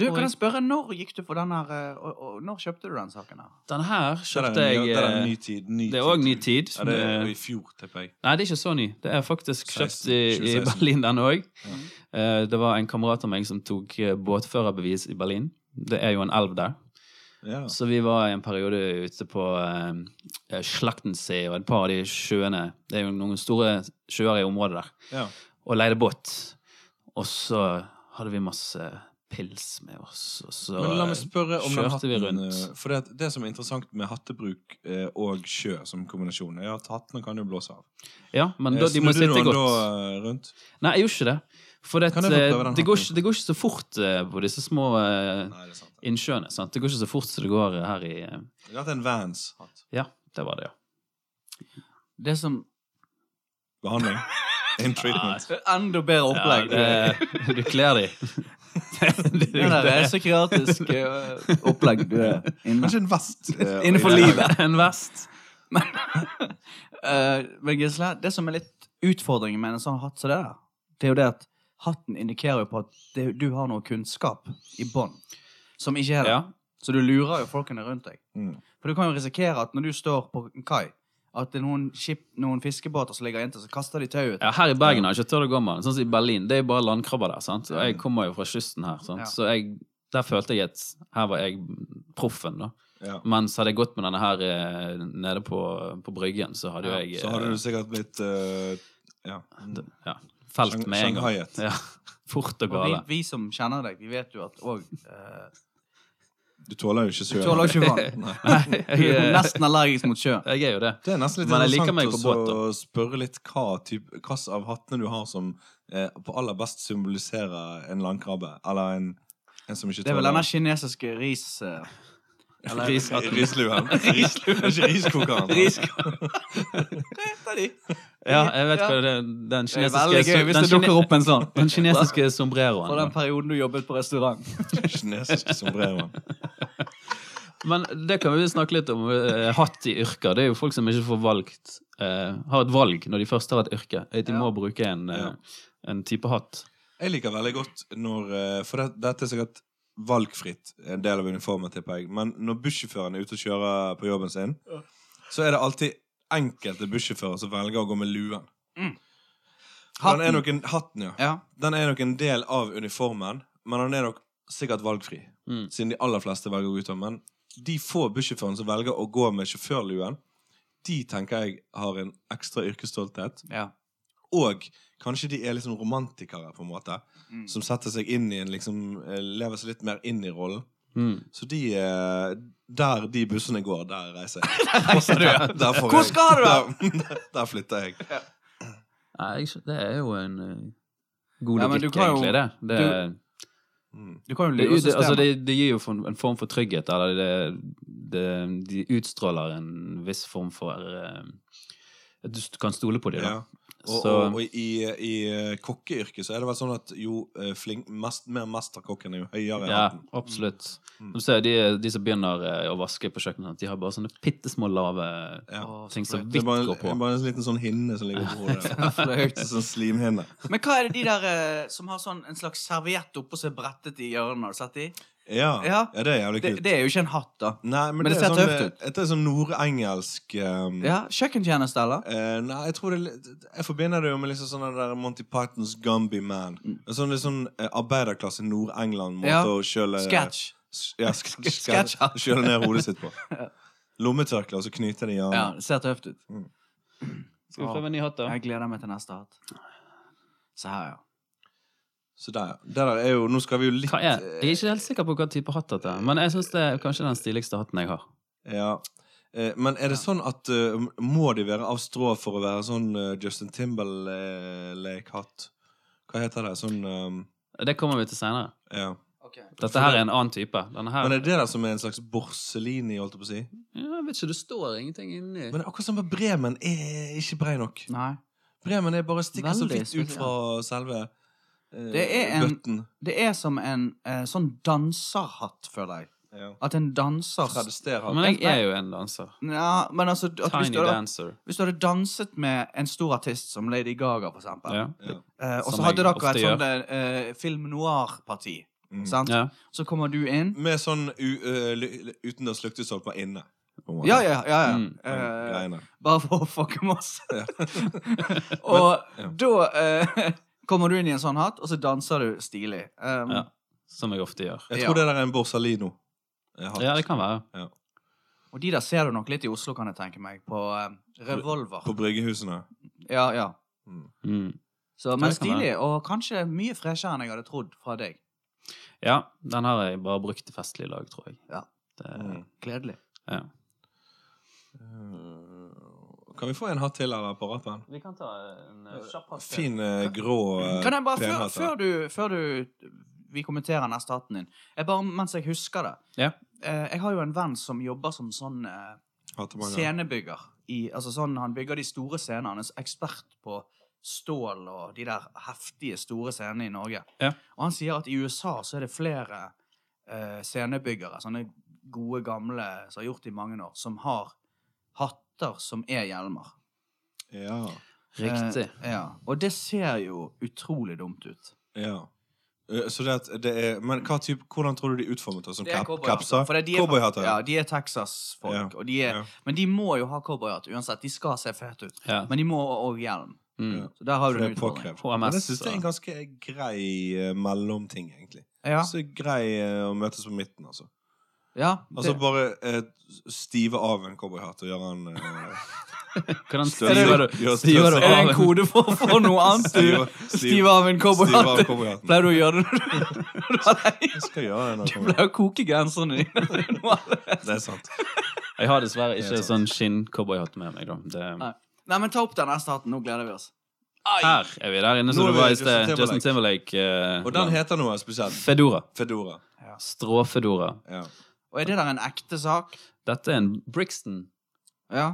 Du,
Og-
kan jeg spørre, når gikk du for den her eh, og, og når kjøpte du den saken her?
Den her
Der er
kjøpte
en ny-
jeg
der er en ny
eh,
tid. Ny
Det er òg ny tid.
Ja, det er
Eh,
i fjor, tipper jeg.
Nei, det er ikke så ny. Det er faktisk kjøpt
16,
i, i
2016.
Berlin, den òg. Det var en kamerat av meg som tok eh, båtførerbevis i Berlin. Det er jo en elv der.
Ja.
Så vi var i en periode ute på eh, Slaktensee og et par av de sjøene. Det er jo noen store sjøer i området der.
Ja.
Og leide båt. Og så hadde vi masse pils med oss, og så
Men la meg spørre om den
kjørte vi
hatten.
rundt.
eh, For det, det som er interessant med hattebruk eh, og sjø som kombinasjon, er at hattene kan jo blåse av.
Ja, men
Eh,
da, de må
snudde
sitte
du den
godt.
Da, eh, rundt?
Nei, jeg gjorde ikke det. For det, eh,
Kan jeg få prøve den
det, går
hatten?
ikke, det går ikke så fort eh, på disse små eh,
Nei, det er sant.
innsjøene. sant? Det går ikke så fort som det går eh, her i eh,
Dette er en Vans-hatt.
Ja, det var det, ja.
Det som
Behandling. In treatment.
Enda bedre opplegg.
Ja, det, du kler de. Det-
det, der er
det-
psykiatrisk eh, opplegg du er inne
Kanskje en vest. eh,
Innenfor
i-
livet.
En vest.
Eh, Men Gisle, det som er litt utfordringen med en sånn hatt som det der, det er jo det at hatten indikerer jo på at det, du har noe kunnskap i bånn som ikke er der.
Ja.
Så du lurer jo folkene rundt deg.
Mm.
For du kan jo risikere at når du står på en kai, at det er noen, skip, noen fiskebåter som ligger inntil, så kaster de tauet.
ja, her i Bergen har jeg ikke tørt å gå med den. Sånn som i Berlin, det er bare landkrabber der. sant? Og jeg kommer jo fra kysten her, sant?
Ja.
så jeg, der følte jeg at her var jeg proffen, da.
Ja.
Mens hadde jeg gått med denne her eh, nede på, på bryggen, så hadde jo jeg
Så hadde du sikkert blitt eh, ja.
eh, ja, felt med en gang.
Shanghaiet.
Ja, fort og
Og vi,
gale.
vi som kjenner deg, vi vet jo at òg eh,
Du tåler jo ikke
Du
sjøen.
tåler ikke vann.
Nei,
Du
jeg,
er jo
eh,
nesten allergisk mot sjø.
jeg er jo det.
Det er nesten litt
Men jeg liker meg
interessant
på
også
båt, da.
å spørre litt hva typ- hva slags av hattene du har som eh, på aller best symboliserer en landkrabbe. Eller en, en som ikke
Det er vel denne kinesiske ris... eh, eller-
Rishatten.
Risluen. Risluen, ikke riskokeren.
Hva heter de?
Ja, jeg vet
Ja.
hva det er. Den
Det er veldig
kinesiske,
gøy hvis
den
det dukker
kine,
opp en sånn.
den kinesiske
Fra den
sombreroen.
perioden du jobbet på restaurant.
Kinesiske sombreroen.
Men det kan vi snakke litt om. eh, Hatt i yrker. Det er jo folk som ikke får valgt eh, Har et valg når de først har et yrke. At de
Ja.
må bruke en, eh,
Ja.
en type hatt.
Jeg liker veldig godt når eh, For det, dette er sikkert valgfritt, en del av uniformen, tipper jeg. Men når bussjåføren er ute og kjører på jobben sin, så er det alltid enkelte bussjåfører som velger å gå med luen.
Mm.
Den er nok en, hatten, ja.
Ja.
Den er nok en del av uniformen, men den er nok sikkert valgfri.
Mm.
Siden de aller fleste velger å gå ut av den. Men de få bussjåførene som velger å gå med sjåførluen, de tenker jeg har en ekstra yrkesstolthet.
ja.
Og kanskje de er liksom romantikere, på en måte.
Mm.
Som setter seg inn i en liksom eh, Lever seg litt mer inn i rollen.
Mm.
Så de eh, Der de bussene går, der reiser jeg.
Reiser du, ja.
Der får jeg-
Hvor skal du,
Der, der flytter jeg.
Nei, jeg skjø- det er jo en eh, god
Ja,
logikk,
men du kan jo-
egentlig, det. Det,
Mm.
Du kan jo
det,
lure
det, altså,
systemet.
det, det gir jo for- en form for trygghet, eller det, det, de utstråler en viss form for eh, At du st- kan stole på dem, da.
Ja. Og,
Så-
og, og i, i eh, kokkeyrket så er det vel sånn at jo eh, flink, mest, mer mesterkokken er jo høyere i
Ja,
hatten.
absolutt.
Mm.
Som Du ser, de, de som begynner eh, å vaske på kjøkkenet, de har bare sånne bitte små lave
Ja.
Å,
ting som
sprøtt.
vidt
Det er bare,
går på.
en- bare en liten sånn hinne som ligger på hodet.
Flaut.
sånn slimhinne.
Men hva er det de der eh, som har sånn en slags serviett oppå seg brettet i hjørnet? Har du sett de?
Ja. ja,
Ja.
det er jævlig
Det,
kult.
det er jo ikke en hatt, da.
Nei, men,
Men
det,
det
er
ser
sånn,
tøft ut.
eh, Dette er sånn nordengelsk um,
Ja, Kjøkkentjeneste, eller?
Eh, nei, jeg tror det er litt- Jeg forbinder det jo med liksom sånn den der Monty Pythons Gumby Man. En sånn litt sånn eh, arbeiderklasse Nord-England-måte
Mm. Ja.
å kjøle
Sketsj.
S- Ja, sk
Sketsj, ja.
Kjøle ned hodet sitt på. Lommetørkle, og så knyte det i
Ja,
hjernen.
det ser tøft ut.
Skal vi prøve en ny hatt, da?
Jeg gleder meg til neste hatt. Se her, ja.
Så der, ja. Det der er jo Nå skal vi jo litt eh,
Hva er? Jeg er ikke helt sikker på hva type hatt dette er, men jeg syns det er kanskje den stiligste hatten jeg har.
eh, Ja. Eh, Men er det sånn at eh, må de være av strå for å være sånn eh, Justin Timberlake-hatt? Hva heter det? Sånn eh,
Det kommer vi til senere.
Ja.
Dette her er en annen type. Denne her
Men er det der som er en slags borselini, holdt jeg på å si?
ja, Jeg vet ikke, det står ingenting inni.
Men akkurat som med Bremen er ikke brei nok.
Nei.
Bremen er bare stikker så
Veldig
vidt ut fra selve eh,
Det er en-
bøtten.
Det er som en eh, sånn danserhatt, føler jeg.
Ja.
At en danser
Tradesterer.
Men jeg er jo en danser.
Ja, men altså at hvis,
Tiny
du hadde,
dancer.
hvis du hadde danset med en stor artist som Lady Gaga, for eksempel,
Ja.
Ja.
eh, og så
Som jeg
hadde dere et
ofte
sånt eh, film noir-parti,
Mm.
sant?
Ja. Mm.
Så kommer du inn
Med sånn u- eh, ly- utendørs lyktestolpe inne. på en måte.
Ja, ja, ja. ja.
Mm.
Eh,
Greiene.
bare for å fucke med oss.
Ja.
og
Men- ja.
da eh, kommer du inn i en sånn hatt, og så danser du stilig. Um,
Ja. Som jeg ofte gjør.
Jeg tror
Ja.
det der er en borsalino. Jeg har
Ja, det kan være.
Og de der ser du nok litt i Oslo, kan jeg tenke meg, på eh, revolver.
På bryggehusene.
Ja, ja.
Mm.
Mm.
Så, men
det kan
stilig, og kanskje mye freshere enn jeg hadde trodd fra deg.
Ja, den har jeg bare brukt til festlig lag, tror jeg.
Ja.
Mm.
Det,
Gledelig.
ja.
Eh, Kan vi få en hatt til her på rappen?
Vi kan ta en kjapp
Fin, eh, grå eh,
Kan jeg bare, før,
penhatt, da.
før, du, før du vi kommenterer neste hatten din jeg bare, Mens jeg husker det
Ja.
eh, Jeg har jo en venn som jobber som sånn eh,
Hattemange.
scenebygger. I, altså sånn, han bygger de store scenene. Han er ekspert på stål og de der heftige, store scenene i Norge.
Ja.
Og han sier at i USA så er det flere eh, scenebyggere, sånne gode, gamle som har gjort det i mange år, som har hatter som er hjelmer.
Ja.
Riktig.
Eh, ja. Og det ser jo utrolig dumt ut.
ja. Eh, Så det, at det er, men hva type, hvordan tror du de er utformet? da? Som
Det er
cap,
cowboyhatter,
capser?
for det er de er fra-
Cowboyhatter.
Ja, de er Texas-folk,
Ja.
og de er,
Ja.
men de må jo ha cowboyhatt uansett. De skal se fete ut,
Ja.
men de må òg hjelm.
Mm.
Så der har
For
du
det
en
er
utfordring.
påkrevd.
HMS,
Men jeg syns det er
så-
en ganske grei eh, mellomting, egentlig.
Ja,
Så grei eh, å møtes på midten, altså.
ja
Altså
det-
bare eh, stive av en cowboyhatt og gjøre han eh,
Hvordan
Støvler-
stiver du,
Ja,
stiver du
støvler-
Er det en
av?
kode for å få noe annet?
Stive-
du? Stiv av en
stive av
cowboyhatt.
cowboyhatten.
Pleier du å gjøre det når du- når du er lei?
Jeg skal gjøre det når
Du
jeg kommer.
pleier å koke genserne dine. Noe av det.
Det er sant.
Jeg har dessverre ikke
Det er
sånn skinn-cowboyhatt med meg, da. Det,
Nei. Nei, men ta opp den neste hatten. Nå gleder vi oss.
her er vi der inne
Nå
som
er
det var
vi
i sted.
Justin
Justin Timberlake. eh,
Og den
land.
heter noe spesielt.
Fedora.
Fedora.
Stråfedora.
Ja.
Og er det der en ekte sak?
Dette er en Brixton-stråfedora.
Ja.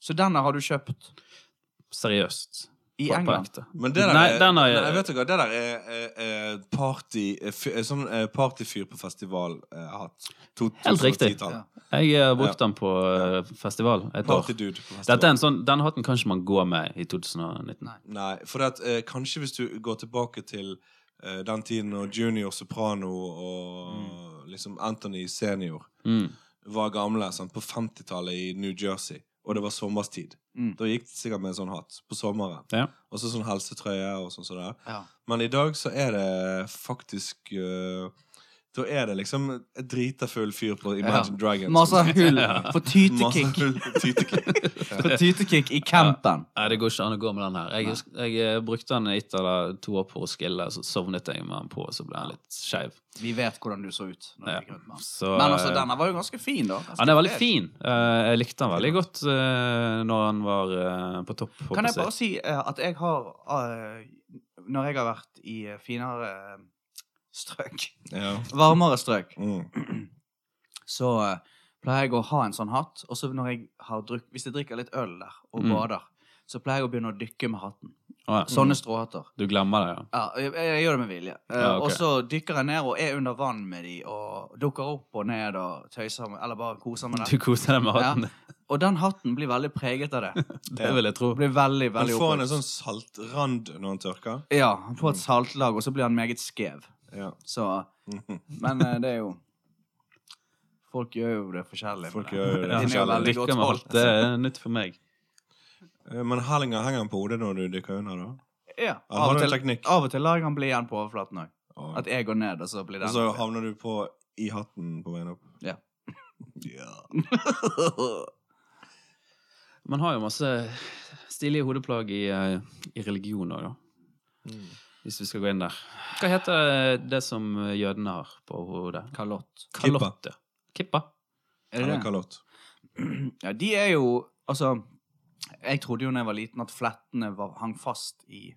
Så denne har du kjøpt
Seriøst.
i
På- på
England?
ekte.
Men det der
Nei,
er,
den har jeg-
nei, vet du hva, det der er, er, er party, er fy- er sånn eh, partyfyr på festival eh, hatt. To-
Helt riktig.
2010-tallet.
Jeg har brukt den på eh, festival et år.
Partydude på festival.
Dette er en sånn, Den hatten kan ikke man gå med i 2019.
Nei.
Nei, for det at, eh, kanskje hvis du går tilbake til eh, den tiden når Junior Soprano og liksom Anthony Senior
Mm.
var gamle, sant, på 50-tallet i New Jersey, og det var sommerstid.
Mm.
Da gikk det sikkert med en sånn hatt på sommeren.
Ja.
Og så sånn helsetrøye og sånn sånn der.
Ja.
Men i dag så er det faktisk eh, Da er det liksom et drita full fyr på Imagine Dragons.
Masse hull for
Masse
tytekick.
hull på tytekick.
For tytekick i campen.
Nei, det går ikke an å gå med den her. Jeg, husk- jeg eh, brukte den i et eller to år på Roskilde, så sovnet jeg med den på, og så ble den litt skeiv.
Vi vet hvordan du så ut. Når du
Ja.
gikk rundt med den.
Så,
Men altså,
eh,
denne var jo ganske fin, da. Ganske
Han er veldig
fet.
fin. Eh, jeg likte han veldig godt eh, når han var eh, på topp. holdt
Kan jeg
på å
bare
si.
si eh, at jeg har eh, Når jeg har vært i eh, finere eh, strøk,
Ja.
varmere strøk,
Mm.
så eh, pleier jeg å ha en sånn hatt. Og så når jeg har druk, hvis jeg drikker litt øl der og
Mm.
bader, så pleier jeg å begynne å dykke med hatten.
Å, ja.
Sånne stråhatter.
Du glemmer det, ja.
Ja, jeg, jeg gjør det med vilje. Eh,
Ja, ok.
Og så dykker jeg ned og er under vann med de og dukker opp og ned og tøyser med Eller bare koser med
Du
det.
koser deg med hatten.
Og den hatten blir veldig preget av det.
Det vil jeg tro.
Blir veldig,
Men
veldig
får han en
oppholds-
sånn saltrand når han tørker?
Ja, han får et saltlag, og så blir han meget skev.
Ja.
Så Men eh, det er jo Folk gjør jo det forskjellig.
Folk
men-
gjør jo det
Den er jo
forskjellig.
veldig
Lykke
godt
med hatt.
holdt.
Det er nytt for meg.
Eh, Men hellinger henger han på hodet når du dykker under, da?
Ja,
Han
av,
har en
og til,
teknikk.
av og til lar jeg han bli igjen på overflaten òg.
Og-
At jeg går ned, og så blir den
Og så havner du på i hatten på veien opp.
Ja.
Ja.
Man har jo masse stilige hodeplagg i, eh, i religion òg, da.
Mm.
Hvis vi skal gå inn der. Hva heter eh, det som jødene har på hodet?
Kalott.
Kippa.
Kalott, ja. Kippa.
Er det
Eller
det?
kalott.
Ja, de er jo Altså, jeg trodde jo da jeg var liten, at flettene var, hang fast i,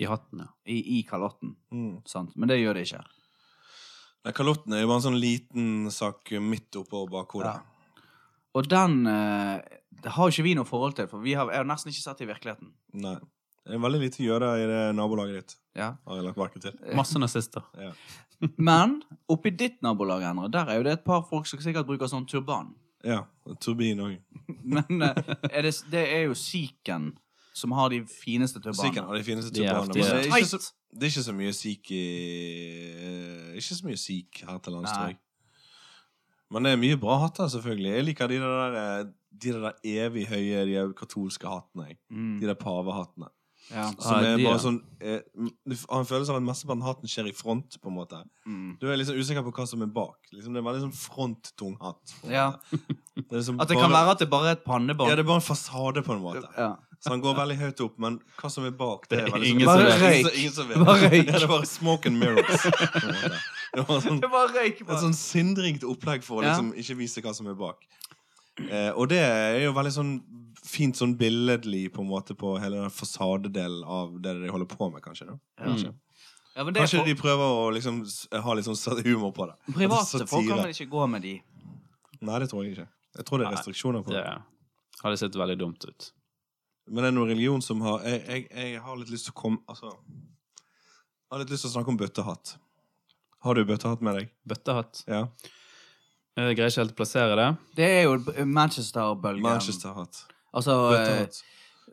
I hatten, ja.
i, i kalotten. Sant? Men det gjør det ikke.
Mm. Nei, Kalotten er jo bare en sånn liten sak midt oppå bakhodet.
Ja. Og den eh, det har jo ikke vi noe forhold til, for vi har, jeg har nesten ikke sett det i virkeligheten.
Nei. Det er veldig lite gjøde i det nabolaget ditt,
Ja.
har jeg lagt merke til.
Masse nazister.
Men oppi ditt nabolag, Endre, der er jo det et par folk som sikkert bruker sånn turban.
Ja, Turbin òg.
Men eh, er det, det er jo sikhen som har de fineste
Sikhen
turbanene.
har de fineste
De er
turbanene.
heftige.
men Det, er ikke så-
Tight!
det er ikke så mye sikh i Ikke så mye sikh her til lands, tror
Nei.
jeg. Men det er mye bra hatter, selvfølgelig. Jeg liker de der, eh, de der evig høye, de katolske hattene. Jeg.
Mm,
De der pavehattene.
ja.
Som
Ja,
er
de,
bare
ja.
sånn eh, Du f- har en følelse av at mesteparten av hatten skjer i front, på en måte.
Mm.
Du er liksom usikker på hva som er bak. Liksom, det er en veldig sånn fronttung hatt. på en
Ja.
måte. Det er liksom
At det kan
bare-
være at det bare er et pannebånd.
Ja, det er bare en fasade, på en måte.
Ja.
Så han går veldig høyt opp, men hva som er bak, det er veldig
Ingen
sånn-
som
Bare vet.
Ingen som- Ingen som vet.
Bare røyk.
Ja, det er bare smoke and mirrors. på en måte. Det var sånn,
Det var røyk,
et sånn sinnrikt opplegg for å
Ja.
liksom ikke vise hva som er bak. Eh, og det er jo veldig sånn fint sånn billedlig på en måte på hele den fasadedelen av det de holder på med, kanskje. Da.
Ja. Ja, men det
Mm.
er
Kanskje
folk-
de prøver å liksom s- ha litt sånn sat- humor på det. At det er
Private folk
satire.
kan vel ikke gå med de.
Nei, det tror jeg ikke. Jeg tror det er
Nei,
restriksjoner på det.
Det hadde sett veldig dumt ut.
Men det er noe religion som har Jeg, jeg, jeg har litt lyst til å komme Altså Jeg har litt lyst til å snakke om bøttehatt. Har du bøttehatt med deg?
Bøttehatt.
Ja.
Jeg greier ikke helt å plassere det.
Det er jo b- Manchester-bølgen.
Manchesterhatt.
Altså eh,
Bøttehatt.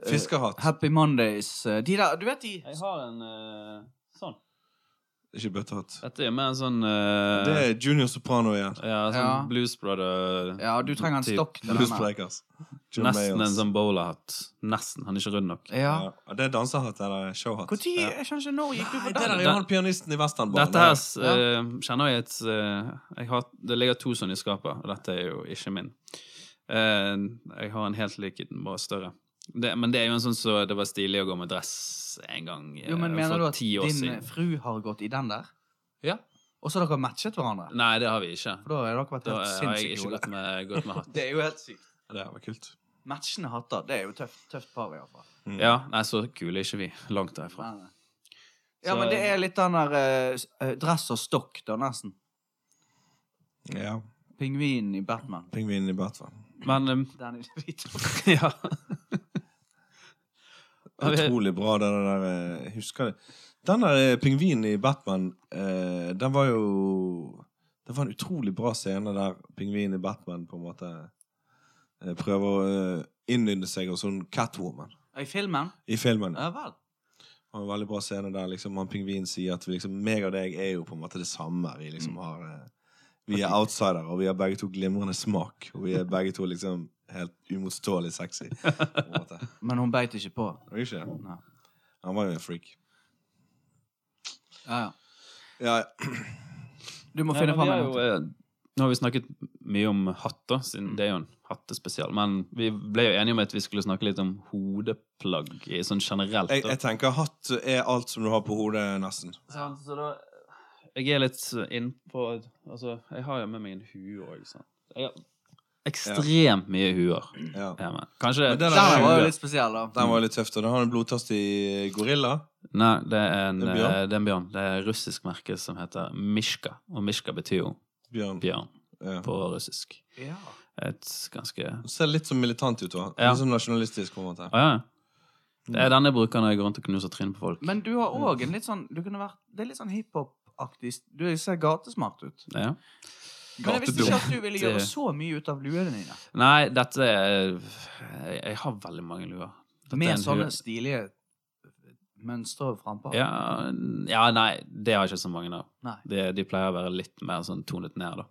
Fiskehatt.
Happy Mondays. eh, De der, du vet de
Jeg har en sånn.
Ikke bøttehatt.
Dette er mer en sånn eh,
Det er Junior Soprano igjen.
Ja, sånn
Ja.
Blues Brother
Ja, du trenger en
typ.
stokk til
Blues
denne.
Breakers. John
Nesten en
Mayers.
sånn bowlerhatt. Nesten. Han er ikke rund nok.
Ja.
Ja, Det er dansehatt eller showhatt.
Hvor tid? Jeg skjønner ikke når gikk du
Nei,
på
det der
den?
er jo han pianisten i Westernbanen.
Dette her
der.
eh, kjenner jeg et eh, jeg har, Det ligger to sånne i skapet, og dette er jo ikke min. Eh, jeg har en helt lik en, bare større. Det, men det er jo en sånn så det var stilig å gå med dress en gang eh,
Jo, men mener
for
du at
ti år
din eh,
siden.
fru har gått i den der?
Ja.
Og så har dere matchet hverandre?
Nei, det har vi ikke.
For da har dere vært
Da
helt
eh, har jeg
sinnssykt
ikke
gode.
gått med, gått med hatt.
Det er jo helt sykt.
Det var kult.
Matchende hatter, det er jo tøft, tøft par, iallfall.
Mm.
Ja, nei, så kule er ikke vi. Langt derifra.
Ja, men det er litt den der eh, s- eh, dress og stokk, da, nesten.
ja.
Pingvinen i Batman.
Pingvinen i Batman.
Men eh,
Danny DeVito.
Ja. Ja, vi-
Utrolig bra, det der eh, jeg Husker det. Den der eh, pingvinen i Batman, eh, den var jo Det var en utrolig bra scene der pingvinen i Batman på en måte eh, prøver å eh, innynde seg hos sånn Catwoman
I filmen?
i filmen.
Ja vel.
Det var en veldig bra scene der liksom, han pingvinen sier at vi, liksom, meg og deg er jo på en måte det samme. Vi, liksom, har, eh, vi er outsidere, og vi har begge to glimrende smak. Og vi er begge to liksom helt uimotståelig sexy. På en måte.
Men hun beit ikke på.
Var det Ikke?
Nei.
Han var jo en freak.
Ja, ja.
Ja, ja.
Du må
Nei,
finne
men vi
fram
har
en
jo,
hatt.
eh, Nå har vi snakket mye om hatter, siden det er jo en hattespesial. Men vi ble jo enige om at vi skulle snakke litt om hodeplagg i sånn generelt.
Jeg,
da.
jeg tenker hatt er alt som du har på hodet, nesten.
Sant, så da Jeg er litt innpå Altså, jeg har jo med meg en hue òg, sant. Jeg har ekstremt mye huer
Ja.
hjemme. Kanskje
Men
det
den
er
er-
Den var
hue.
jo litt spesiell, da.
Den var jo litt tøff. da. Den har en blodtørstig gorilla.
Nei, det er en,
En
eh,
bjørn?
det er en bjørn. Det er et russisk merke som heter Mishka. Og Mishka betyr jo
Bjørn.
bjørn
Ja.
på russisk.
Ja.
Et ganske
Den Ser litt sånn militant ut. da.
Ja.
Litt sånn nasjonalistisk. på en måte.
Å ja. Det er denne brukeren jeg går rundt og knuser trynet på folk.
Men du har òg en litt sånn du kunne vært, Det er litt sånn hiphop-aktig. Du ser gatesmart ut.
Ja.
Men jeg visste
Gatedum.
ikke at du ville
Det-
gjøre så mye ut av luene dine.
Nei, dette er Jeg har veldig mange luer. Dette er
Med
en
sånne
hue-
stilige mønstre frampå.
ja, ja, nei, det har jeg ikke så mange av.
Nei.
De, de pleier å være litt mer sånn tonet ned, da.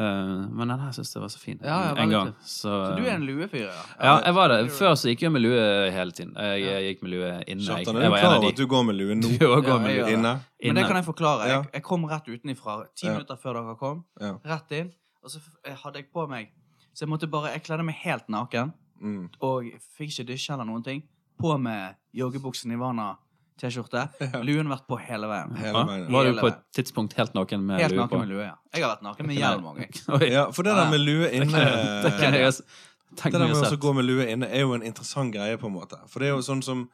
Eh, men den her syns jeg var så fin
Ja, ja,
en
veldig
gang.
fin.
Så,
Så du er en luefyr, ja?
ja, jeg var det. Før så gikk jeg med lue hele tiden. Jeg, jeg gikk med lue inne. Jeg,
Kjartan,
jeg
er du
var en
klar
av
over
de.
at du går med lue nå?
Du også
Ja,
går med lue
jeg gjør det.
Inne?
Men det kan
inne.
jeg forklare.
Ja.
Jeg, jeg kom rett utenifra, ti
Ja.
minutter før dere kom.
Ja.
Rett inn. Og så f- eh, hadde jeg på meg Så jeg måtte bare Jeg kledde meg helt naken.
Mm.
Og fikk ikke dusje eller noen ting. På med joggebuksene Ivana T-skjorte. Luen vært på hele veien.
Hele
Ja,
veien.
var du
Hele
på
veien.
et tidspunkt helt naken med
Helt
lue på?
naken med lue, ja. Jeg har vært naken med hjelm òg.
Oi,
Ja, for det der med lue
det
inne
kan jeg,
eh,
det kan jeg s-
Det
tenkt
der
meg
med
å
å
sett.
gå med lue inne er jo en interessant greie, på en måte. For det er jo sånn som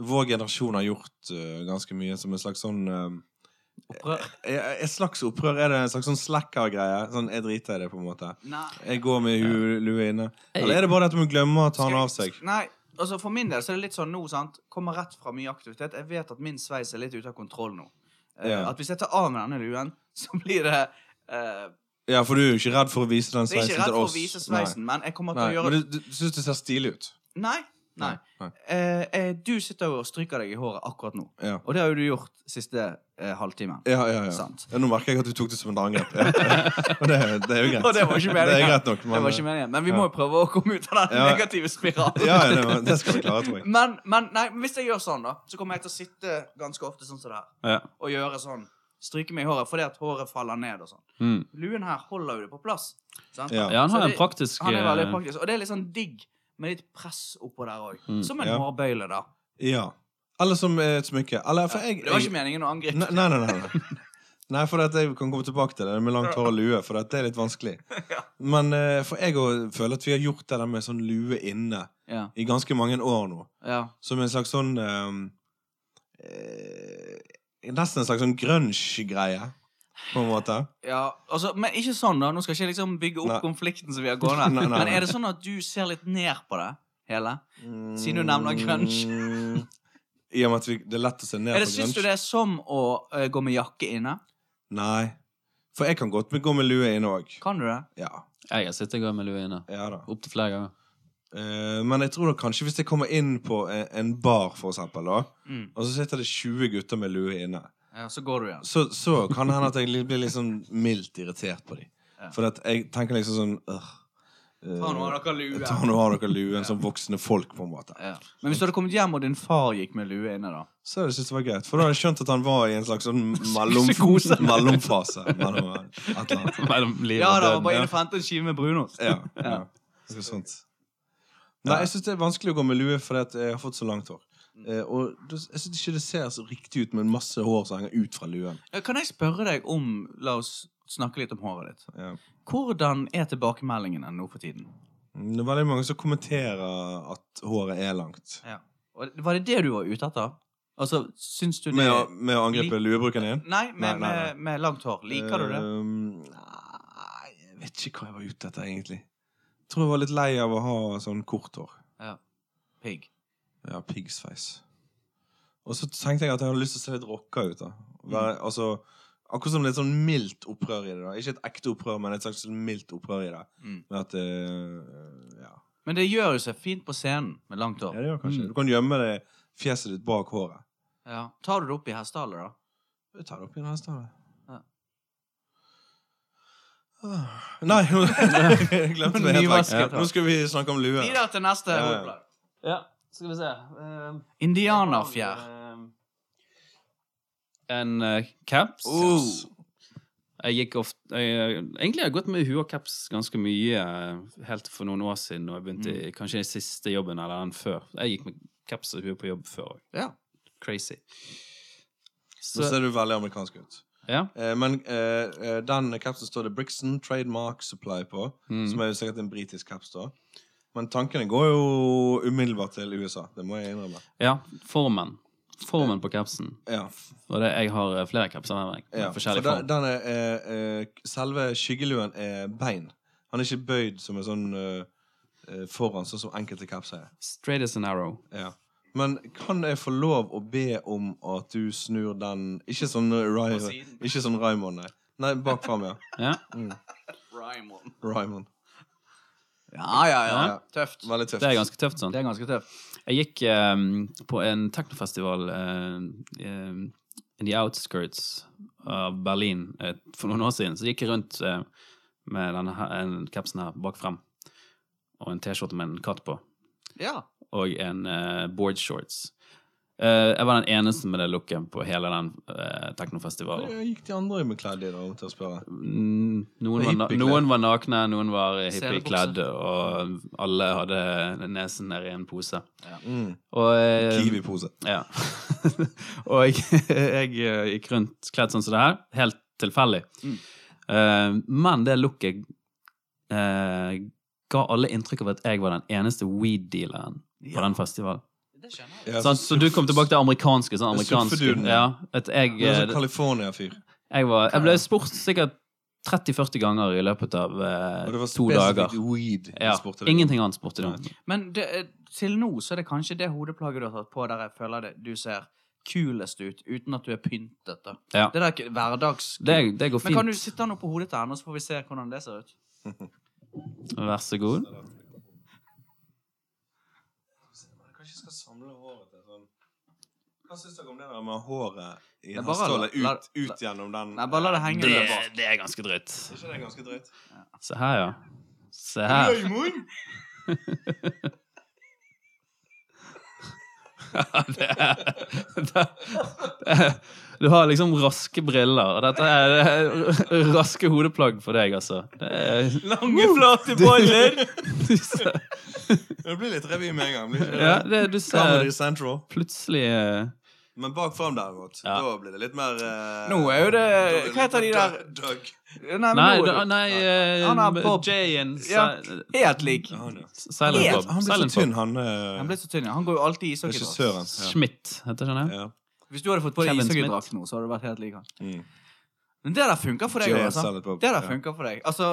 vår generasjon har gjort eh, ganske mye, som en slags sånn eh, eh, Et slags opprør? Er det en slags sånn slacker-greie? Sånn, jeg driter i det, på en måte. Jeg går med hu- lue inne. Eller er det bare dette med å glemme å ta den av seg?
Nei, altså For min del så er det litt sånn nå, sant. Kommer rett fra mye aktivitet. Jeg vet at min sveis er litt ute av kontroll nå. Eh,
Ja.
At hvis jeg tar av meg denne luen, så blir det eh,
Ja, for du er jo ikke redd for å vise den
Jeg er
sveisen
ikke redd
til
for å
oss.
vise sveisen, men jeg kommer
Nei. Nei.
til å
Men
gjøre
du, du syns det ser stilig ut.
Nei. Nei.
Nei.
Eh, eh, du sitter jo og stryker deg i håret akkurat nå.
Ja.
Og det har jo du gjort siste eh, halvtimen.
Ja, ja, ja.
Sant.
ja. Nå merker jeg at du tok det som en angrep. Ja. Og det, det er jo greit.
Og det var ikke meningen.
Det er greit nok.
Det var
Men,
ikke meningen, men vi må jo prøve å komme ut av den
Ja.
negative spiralen.
ja, ja, det, var- det skal vi klare, tror jeg.
Men, men nei, men hvis jeg gjør sånn, da, så kommer jeg til å sitte ganske ofte sånn som det her.
Ja.
Og gjøre sånn. Stryke meg i håret fordi at håret faller ned og sånn.
Mm.
Luen her holder jo det på plass. Sant?
Ja.
ja, han
Så
har en
det-
praktisk
Han er veldig
eh,
praktisk. Og det er litt sånn digg med litt press oppå der òg.
Mm.
Som en
Ja.
hårbøyle, da.
Ja. Eller som et smykke. Eller, for jeg,
Det var
jeg-
ikke meningen å angripe.
Nei, nei, nei. nei. Nei, for at jeg kan komme tilbake til det med langt hår og lue, for at det er litt vanskelig. Men eh, for jeg òg føler at vi har gjort det der med sånn lue inne
Ja,
i ganske mange år nå.
ja.
Som en slags sånn eh, eh, Nesten en slags sånn grunge-greie, på en måte.
ja. Altså, men ikke sånn, da. Nå skal ikke jeg liksom bygge opp
Nei.
konflikten som vi har gående.
Nei, nei, nei.
Men er det sånn at du ser litt ned på det hele? Siden du nevner grunge.
Mm, I og med at vi, det er lett å se ned
Er det,
på
syns du
grunge.
det er som å eh, gå med jakke inne?
Nei. For jeg kan godt gå med lue inne òg.
Kan du det?
Ja.
Jeg har sittet og gått med lue inne.
ja da.
Opptil flere ganger.
Eh, men jeg tror da kanskje hvis jeg kommer inn på en, en bar, for eksempel, da,
Mm.
og så sitter det 20 gutter med lue inne,
Ja, så går du igjen.
så, så kan det hende at jeg li- blir litt sånn mildt irritert på dem.
Ja.
For at jeg tenker liksom sånn øh, eh,
Ta nå av dere lue.
Ta nå av dere luen som voksne folk, på en måte.
Ja. Men hvis du hadde kommet hjem, og din far gikk med lue inne, da?
Så hadde jeg syntes det var greit. For da hadde jeg skjønt at han var i en slags sånn mellom,
Psykose.
mellomfase. Mellom et eller annet.
Mellom livet
Ja
og
da,
døden.
bare inn og hente en skive med brunost.
Ja, ja. Noe sånt. Nei, jeg syns det er vanskelig å gå med lue fordi at jeg har fått så langt hår. Eh, og det- jeg syns ikke det ser så riktig ut med en masse hår som henger ut fra luen.
Ja, Eh, Kan jeg spørre deg om La oss snakke litt om håret ditt.
Ja.
Hvordan er tilbakemeldingene nå for tiden?
Mm, Det er veldig mange som kommenterer at håret er langt.
Og Var det det du var ute etter? Altså, syns du det
Med å, med å angripe
Lik-
luebruken din?
Nei,
Nei, nei,
med,
nei.
Med, med langt hår. Liker du det?
Ehm, nei, jeg vet ikke hva jeg var ute etter, egentlig. Jeg tror jeg var litt lei av å ha sånn kort hår.
Pigg.
Ja, piggsveis. Og så tenkte jeg at jeg hadde lyst til å se litt rocka ut. da Være,
Mm.
altså, Akkurat som litt sånn mildt opprør i det. da Ikke et ekte opprør, men et slags mildt opprør i det.
Mm.
Med at eh, ja.
Men det gjør jo seg fint på scenen med langt
ja,
hår.
det gjør kanskje Du kan gjemme det fjeset ditt bak håret.
Ja. Tar du det opp i hestehalet, da?
Vi tar det opp igjen neste år.
Ja.
Ah, Nei, nå jeg glemte det helt vekk.
Nyvasket hår.
Nå skal vi snakke om lue.
Videre til neste
Ja, ja.
hovedplagg.
Ja, skal vi se. Ehm, Eh,
Indianerfjær.
En eh, caps.
Yes.
Jeg gikk ofte, jeg, eh, egentlig har jeg gått med hue og caps ganske mye eh, helt for noen år siden. Og jeg begynte i- Kanskje den siste jobben eller den før. Jeg gikk med caps og hue på jobb før òg.
Ja.
Crazy.
Nå
Så,
ser du veldig amerikansk ut.
ja.
Eh, men eh, eh, den capsen står det Brixton Trademark Supply på,
Mm.
som er jo sikkert en britisk caps. da Men tankene går jo umiddelbart til USA. Det må jeg innrømme.
ja, formen. Formen på capsen.
Ja,
Og det, jeg har eh, flere capser med meg.
ja.
med Forskjellig
For
form.
den, den er, eh, eh, selve skyggeluen er bein. Han er ikke bøyd som en sånn eh, eh, foran, sånn som enkelte capser er.
Straight as an arrow.
Ja. Men kan jeg få lov å be om at du snur den Ikke sånn Rai-
På siden.
Ikke sånn Raymond, nei. Nei, bak fram, ja.
Ja.
Raymond.
Raymond.
Ja, ja, ja.
Ja.
Tøft.
Veldig tøft.
Det er ganske tøft, sånn.
Det er ganske tøft.
Jeg gikk eh, på en teknofestival eh, eh, in the outskirts av Berlin eh, for noen år siden. Så gikk jeg rundt eh, med denne her, en kapsen her bak frem, og en T-skjorte med en katt på,
Ja.
og en eh, boardshorts. Eh, jeg var den eneste med det looken på hele den eh, teknofestivalen.
Jeg gikk de andre med klær i dag til å spørre.
Mm, noen,
Med
var na
hippieklær.
noen var nakne, noen var
Selebukse.
hippiekledd, og alle hadde nesen nedi en pose.
Mm.
Og, eh,
Kiwi-pose.
ja. og jeg, jeg eh, gikk rundt kledd sånn som det her, helt tilfeldig.
Mm.
Eh, men det looket eh, ga alle inntrykk av at jeg var den eneste weed-dealeren på den festivalen.
Det skjønner jeg.
Ja,
Sånn, så du kom tilbake til amerikanske? Sånn, amerikanske
Surfedunen.
ja, at jeg,
Det er sånn
eh,
California-fyr.
jeg, var, jeg ble spurt sikkert 30-40 ganger i løpet av eh,
Og det var
to dager.
spesifikt weed. de
Ja,
spurte deg om.
ingenting annet spurte de om.
Men det, er- til nå så er det kanskje det hodeplagget du har tatt på der jeg føler det, du ser kulest ut uten at du er pyntet. da.
Ja.
Det der er ikke hverdags...
Det, det går
Men kan du
fint.
sitte den oppå hodet til henne, og så får vi se hvordan det ser ut?
Vær så god.
Kanskje jeg skal samle håret til sånn Hva syns dere om det der med håret i
Nei, bare la-
hestehålet
la-
ut, ut gjennom den
Nei, bare la det henge
Det,
der bak.
det er ganske drøyt.
Er ikke det ganske drøyt?
Se her, ja. Se her.
Øymund!
Det er, det er, du har liksom raske briller, og dette er, det er raske hodeplagg for deg, altså. Det er,
Lange, flate boller!
du ser,
Det blir litt revy med en gang. Blir ikke det?
ja, det, du ser
Comedy Central.
plutselig eh,
Men bakfram, derimot,
Ja.
da blir det litt mer eh,
Nå er jo det
da blir
Hva heter de
litt
der
mer Doug.
Nei, men
Nei,
nå
da,
er
nei eh,
Han er Bob.
Jay and Si-
Ja. det helt lik.
Ja, Han, ja.
Silent
Helt-
Bob.
han blir så
Silent Bob.
tynn, han eh,
Han ble så tynn, ja. Han går jo alltid i ishockeydrakt.
regissøren. Ja.
Schmidt, heter ikke han det?
Ja.
Hvis du hadde fått på deg
Kevin
ishockeydrakt nå, så hadde du vært helt lik han.
Mm.
Men det der funker for deg.
Jay
Altså.
Silent Bob,
Det der
ja.
funker for deg. Altså,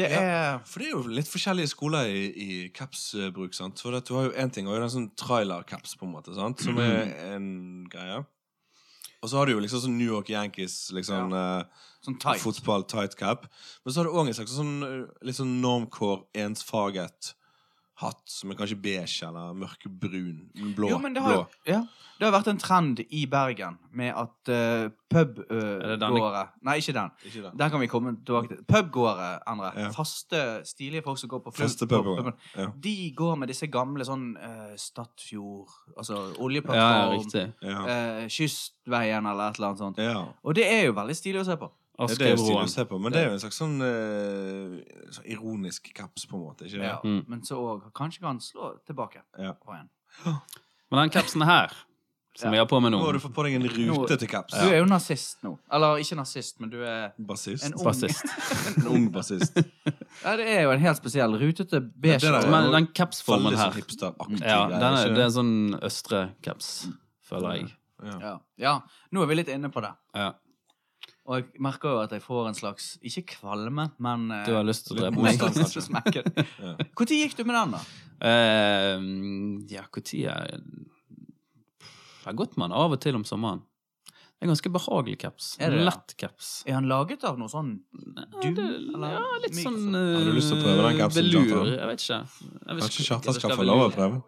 det
Ja.
er
For det er jo litt forskjellige skoler i, i capsbruk, sant. For at du har jo én ting, og det er en sånn trailer-caps, på en måte, sant,
Mm.
som er en greie. Og så har du jo liksom sånn New York Yankees, liksom eh,
sånn tight.
fotball tight cap. Men så har du òg en slags sånn eh, litt sånn normcore, ensfarget hatt som er kanskje beige eller mørkebrun. Blå.
Jo, men det har,
blå.
jo- ja, det har vært en trend i Bergen med at uh,
det den?
pubgåere Nei, ikke den.
Ikke det.
Den kan vi komme tilbake til. Pubgåere, Endre.
Ja.
Faste, stilige folk som går på flubb-
Faste
på
pubgåere,
puben.
ja.
De går med disse gamle sånn eh, Stadfjord Altså
Ja, ja,
oljeplattform,
riktig.
Ja.
eh, Kystveien eller et eller annet sånt.
ja.
Og det er jo veldig stilig å se på.
Det er jo stilig å
Askebroen.
se på, men det er jo en slags sånn, eh, sånn ironisk caps, på en måte. ikke det?
Ja.
Mm.
Men så òg Kanskje kan han slå tilbake
Ja.
på en.
Men den kapsen her, som jeg har på meg nå
Nå har du fått på deg en
Nå-
rute til caps.
Du er jo nazist nå. Eller ikke nazist, men du er
Bassist.
en ung
Bassist.
En ung bassist.
Ja, det er jo en helt spesiell rutete beige.
Ja, det der er-
Men den kapsformen
Veldig sånn
her
hipsteraktig.
ja,
greie,
den er,
ikke
Det er sånn østre kaps, føler jeg.
Ja.
ja. ja, nå er vi litt inne på det.
Ja.
Og jeg merker jo at jeg får en slags Ikke kvalme, men eh,
Du har lyst til å
Litt
drepe meg?
motstand,
jeg har lyst
kanskje.
til å smekke det.
Ja.
Når gikk du med den, da?
Eh, ja, når er Det er godt man av og til om sommeren. Det er en ganske behagelig caps.
Er det det?
Lett caps.
Er han laget av noe sånn
Ja,
du?
det,
eller
ja, litt
myk,
sånn
altså?
eh,
Har du lyst til å prøve den kapsen,
velur.
Kjartan?
Jeg vet ikke. Jeg vet
Kanskje
ikke-
Kjartan
det skal
skal få lov å
velur.
prøve?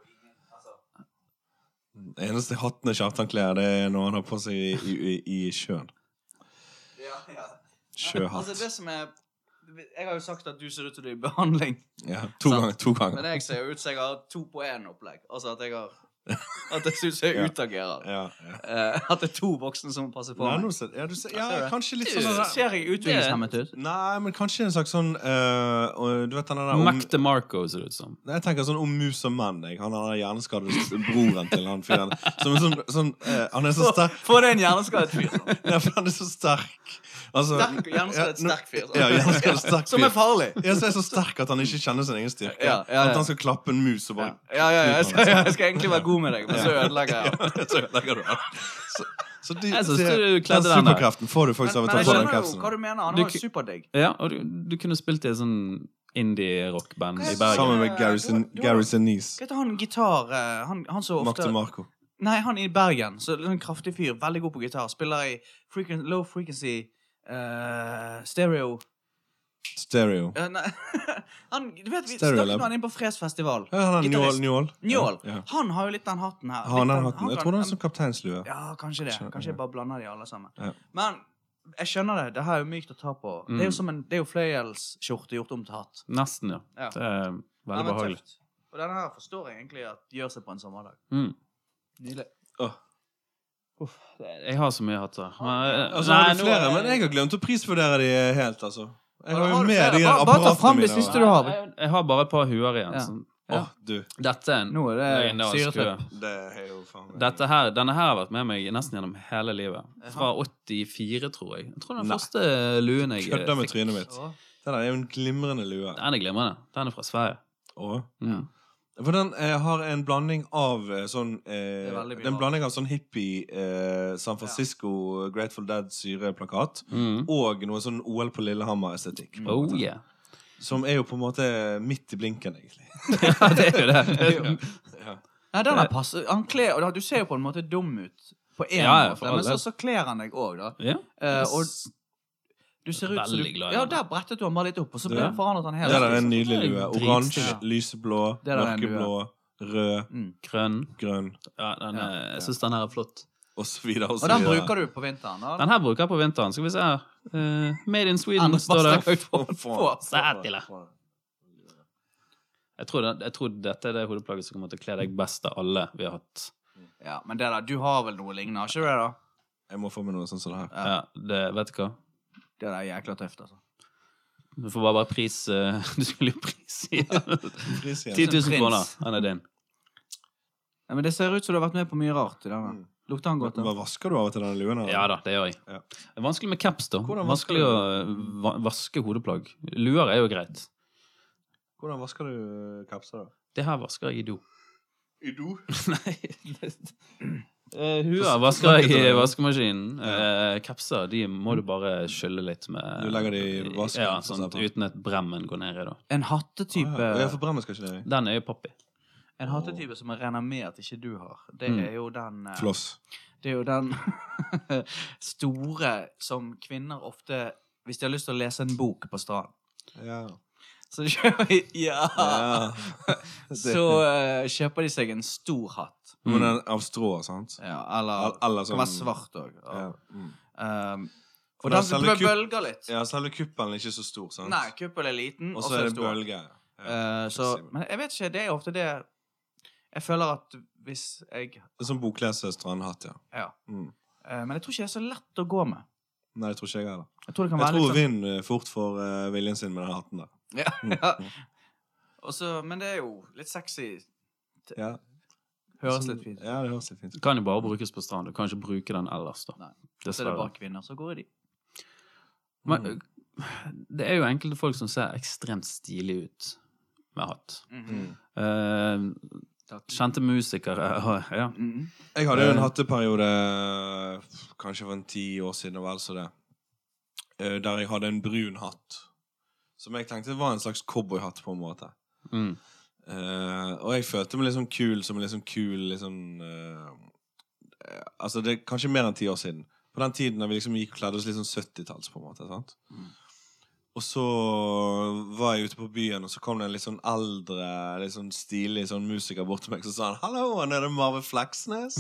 Det
Altså-
eneste hattene Kjartan kler, det er når han har på seg i, i, i i sjøen.
Altså,
Sjøhatt.
det som er Jeg har jo sagt at du ser ut som du er i behandling,
Ja, to
Sant.
ganger. to
men
ganger.
jeg ser jo ut som jeg har to på én-opplegg. Altså at jeg har At jeg syns jeg
Ja.
utagerer.
Ja, ja.
Eh, at det er to voksne som passer på
Nei,
meg.
nå ser, ja, du ser, ja,
ser det.
kanskje litt
Du,
sånn der-
Ser jeg utviklingshemmet ut?
Nei, men kanskje en slags sånn eh, og Du vet den der om-
Mac DeMarco ser det ut som.
Nei, Jeg tenker sånn om mus og menn. Jeg. Han er den hjerneskadede broren til han fyren. Som en sånn, sånn eh, Han er så
Få-
sterk.
Få deg en hjerneskadet fyr. sånn.
Ja, for han er så sterk. Altså,
Sterk, hjerneskadet
ja, nå-
sterk fyr. sånn.
Ja, hjerneskadet sterk
Som er
fyr.
farlig.
Ja, så er så sterk at han ikke kjenner sin egen styrke.
Ja, ja, ja.
At han skal klappe en mus og
Ja,
bare
ja, ja, jeg, skal, jeg skal egentlig være god med deg, men så ødelegger jeg.
ja. Så ødelegger du han. Så, så de,
Jeg synes
det-
du kledde
den
den der.
superkraften får du
Men,
faktisk av å
men
ta
jeg
på den
skjønner jo
kapsen.
hva du mener. Han
Du
var
ku-
jo superdigg.
Ja, og du, du kunne spilt i et sånn indie-rockband i
Hva er det
Bergen.
Sammen med Gary Sin-
Du- du-
Gary Sinise.
Hva heter han gitar eh, Han, han så
Mark
ofte
til Marco.
Nei, han i Bergen. Så litt sånn kraftig fyr. Veldig god på gitar. Spiller i frequen- low frequency eh, stereo
Stereo.
Eh, Nei, han Du vet, vi
Stereo
snakket
Lab.
med han inn på Fresfestival.
Ja, han er Njål.
Gitarist.
Njål.
Njål.
Ja.
Han har jo litt den hatten her.
Har han
Litt
den hatten? Jeg
kan-
tror han er som kapteinslue.
Ja, kanskje det.
Skjønner-
Kanskje jeg bare blander de alle sammen.
Ja.
Men jeg skjønner det. Det her er jo mykt å ta på. Det er
Mm.
jo som en det er jo fløyelsskjorte gjort om til hatt.
Nesten, ja.
Ja.
Det er
Ja,
veldig
men
behagelig.
tøft. Og denne her forstår jeg egentlig at gjør seg på en sommerdag.
Mm.
Nydelig.
Åh.
Uff, jeg har så mye hatter. Men- eh,
Altså, har
nå
du flere,
er-
men jeg har glemt å prisvurdere de helt, altså. Jeg
Har
har
du-
jo
har du
med de
flere?
der
Bare- bare ta fram
apparatene
det
mine.
siste
da.
du har.
Jeg, jeg har bare et par huer igjen.
Ja.
sånn.
Åh, du.
Dette er en
Nå er det
legendarisk
syretripp.
hue.
Det er jo faen meg-
Dette her, denne her har vært med meg nesten gjennom hele livet. Fra 84, tror jeg. Jeg tror den
Nei.
første luen jeg
Kødder med
fikk.
trynet mitt. Den der er jo en glimrende lue.
Den er glimrende. Den er fra Sverige.
Åh.
Mm.
For den eh, har en blanding av eh, sånn eh,
Det er veldig mye
Den
rart.
blanding av sånn hippie eh, San Francisco Grateful Dead-syreplakat
Mm.
og noe sånn OL på Lillehammer-estetikk.
Mm.
på en
Oh
måte.
yeah.
Som er jo på en måte midt i blinken, egentlig.
Ja, det er jo det. det, er jo det.
Nei, den er passe. Han kler, og da- du ser jo på en måte dum ut på én
Ja, ja,
måte,
for all
men så,
del.
så kler han deg òg, da.
Ja.
Eh, og du ser ut som du
Veldig glad i
Ja,
den.
der brettet du han bare litt opp, og så ble
Ja.
han forandret han
Det
helt.
der er en
liksom.
nydelig
Det er
lue.
jo
Oransje,
dritstilig.
lyseblå,
Det der er en
mørkeblå, rød,
Mm.
Grønn.
grønn
Ja, den er,
Ja.
jeg syns den her er flott.
og så videre. Og
Og
så
den
videre.
bruker du på vinteren. da.
Den her bruker jeg på vinteren. Skal vi se her. Eh, made in Sweden,
Anders
står det.
Bastrak.
Få- få-
Sætila. Jeg tror, det, jeg tror dette er det hodeplagget som kommer til å kle deg best av alle vi har hatt.
Ja, Men det der, du har vel noe lignende, har ikke du det? da?
Jeg må få med noe sånn som det her.
Ja. det, vet du hva?
Det der er jækla tøft, altså.
Du får bare, bare pris eh, Du skulle jo pris i ja. 10
Pris igjen.
000
Prins.
kroner. Den er din.
Ja, men Det ser ut som du har vært med på mye rart i denne.
Mm.
Lukter han godt?
Hva
da?
vasker du av og til denne luen? her?
Ja da, det gjør jeg.
Ja.
Det er vanskelig med caps, da.
Hvordan vasker
Vanskelig å eh, va vaske hodeplagg. Luer er jo greit.
Hvordan vasker du eh, kapser, da?
Det her vasker jeg i do.
I do.
Nei uh, Huer vasker jeg i vaskemaskinen. Eh, kapser de må du bare skylle litt med
Du legger de i vasken,
Ja,
for
sånn,
eksempel.
uten at bremmen går ned i, da.
En hattetype
Ah, ja. Jeg får bremmen, skal ikke det?
Den er jo poppy.
En hattetype som jeg regner med at ikke du har, det
Mm.
er jo den eh,
Floss.
Det er jo den store som kvinner ofte Hvis de har lyst til å lese en bok på stranden.
Ja.
Så kjøper, ja.
ja. Det-
Så eh, kjøper de seg en stor hatt.
Men den er av strå, sant?
Ja, eller
Al- Eller
den kan
sånn
være svart òg.
Ja. Mm.
Um,
For
og
da
den
selger
bø-
kupp-
bølger litt.
ja, selve kuppelen er ikke så stor, sant?
Nei, kuppelen er liten,
Og så er det
stor.
bølge. Ja.
Eh, så,
Fleksibel.
men jeg vet ikke, det er ofte det Jeg føler at hvis jeg
Det er sånn bokleserstrandhatt, ja.
Ja.
Mm.
eh, Men jeg tror ikke det er så lett å gå med.
Nei, det tror ikke jeg heller.
Jeg tror det kan
Jeg
være
tror
litt
Vind eh, fort får eh, viljen sin med den hatten der.
sånn ja. Og så- Men det er jo litt sexy.
Ja,
Høres
Sånn-
litt fint ut.
Ja, det høres litt fint ut.
Kan jo bare brukes på stranden. Du kan ikke bruke den ellers, da.
Nei. Så er det
Dessverre.
bare kvinner som går i de.
Men øh,
Mm.
det er jo enkelte folk som ser ekstremt stilige ut med hatt.
Mhm.
Mm.
Eh, kjente musikere og ja.
Mhm.
Jeg hadde jo en
Eh.
hatteperiode f- kanskje for en ti år siden og vel så det, eh, der jeg hadde en brun hatt. Som jeg tenkte var en slags cowboyhatt, på en måte.
Mm.
Eh, og jeg følte meg liksom kul som en liksom kul liksom eh, eh, Altså, det er kanskje mer enn ti år siden. På den tiden da vi liksom gikk og kledde oss litt sånn 70-talls, på en måte. sant? Og så var jeg ute på byen, og så kom det en litt sånn eldre, litt sånn stilig sånn musiker bort til meg og sa han, 'Hallo, han er det Marve Fleksnes?'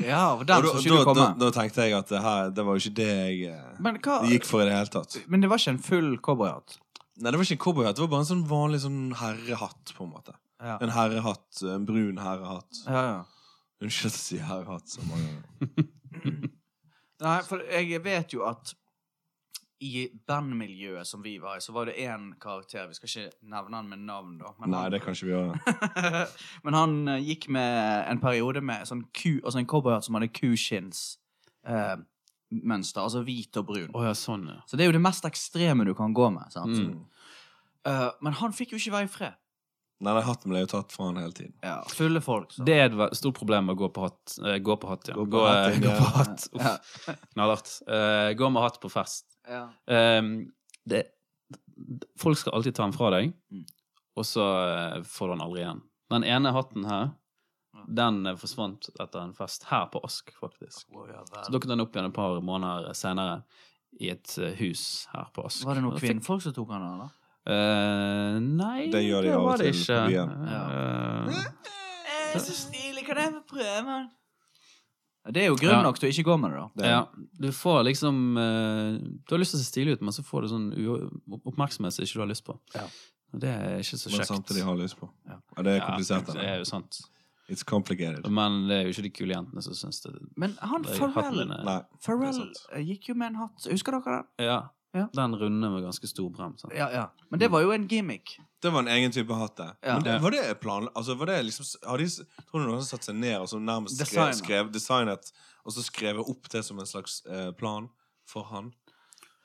Ja, for der
Og
skal
da,
ikke du
da, da,
komme.
da tenkte jeg at det, her, det var jo ikke det jeg eh,
Men, hva,
det gikk for i det hele tatt.
men det var ikke en full cowboyhatt?
Nei, det var ikke en cowboyhatt. Det var bare en sånn vanlig sånn herrehatt, på en måte.
Ja.
En herrehatt, en brun herrehatt.
Ja, ja.
Unnskyld at jeg sier herrehatt så mange ganger.
Nei, for jeg vet jo at i bandmiljøet som vi var i, så var det én karakter Vi skal ikke nevne han med navn, da. Men
Nei,
han,
det kan ikke vi gjøre.
men han eh, gikk med en periode med sånn ku, altså en cowboyhatt som hadde kuskinnsmønster. Eh, mønster, altså hvit og brun.
Å ja, sånn, ja.
Så det er jo det mest ekstreme du kan gå med. sant?
Mm.
Mm.
Eh, men han fikk jo ikke være i fred.
Nei, den hatten ble jo tatt fra han hele tiden.
Ja, Fulle folk. Så.
Det er et ve- stort problem med å gå på hatt. Eh, gå på hatt, ja.
Gå på
Gå,
hatt,
eh,
ja.
gå på hatt.
Ja.
Uff, knallhardt. Eh, gå med hatt på fest.
Ja.
Ehm, det, folk skal alltid ta den fra deg,
Mm.
og så eh, får du den aldri igjen. Den ene hatten her,
Ja.
den eh, forsvant etter en fest her på Ask, faktisk.
Å, ja
Så
vel.
dukket den opp igjen et par måneder senere i et eh, hus her på Ask.
Var det
Og
noen
fikk-
kvinnfolk som tok han, eller?
Eh, nei,
Det gjør de av og
var det
til
ikke.
på byen.
Eh,
Så stilig, kan jeg få prøve den? Det er jo grunn
Ja.
nok til å ikke gå med det, da.
Det er-
Ja, du får liksom eh, Du har lyst til å se stilig ut, men så får du sånn u oppmerksomhet som ikke du har lyst på.
Ja.
Og Det er ikke så
Men
kjekt.
samtidig har jeg lyst på.
Ja.
Ja, det er
Ja,
komplisert. det
det
der.
er jo sant.
It's complicated.
Men det er jo ikke de kule jentene som syns det.
Men han
de
Pharrell
hattene-
Nei.
Pharrell
det er sant.
eh, gikk jo med en hatt. Husker dere den?
Ja.
Ja.
Den runde med ganske stor brem. Sant?
Ja, ja. Men det var jo en gimmick.
Det var en egen type hatt, det.
Ja.
Men det,
Ja.
var det planlagt altså, var det liksom, har de, s- Tror du noen har satt seg ned og så nærmest skrev,
Designet.
skrev designet, og så skrevet opp det som en slags eh, plan for han?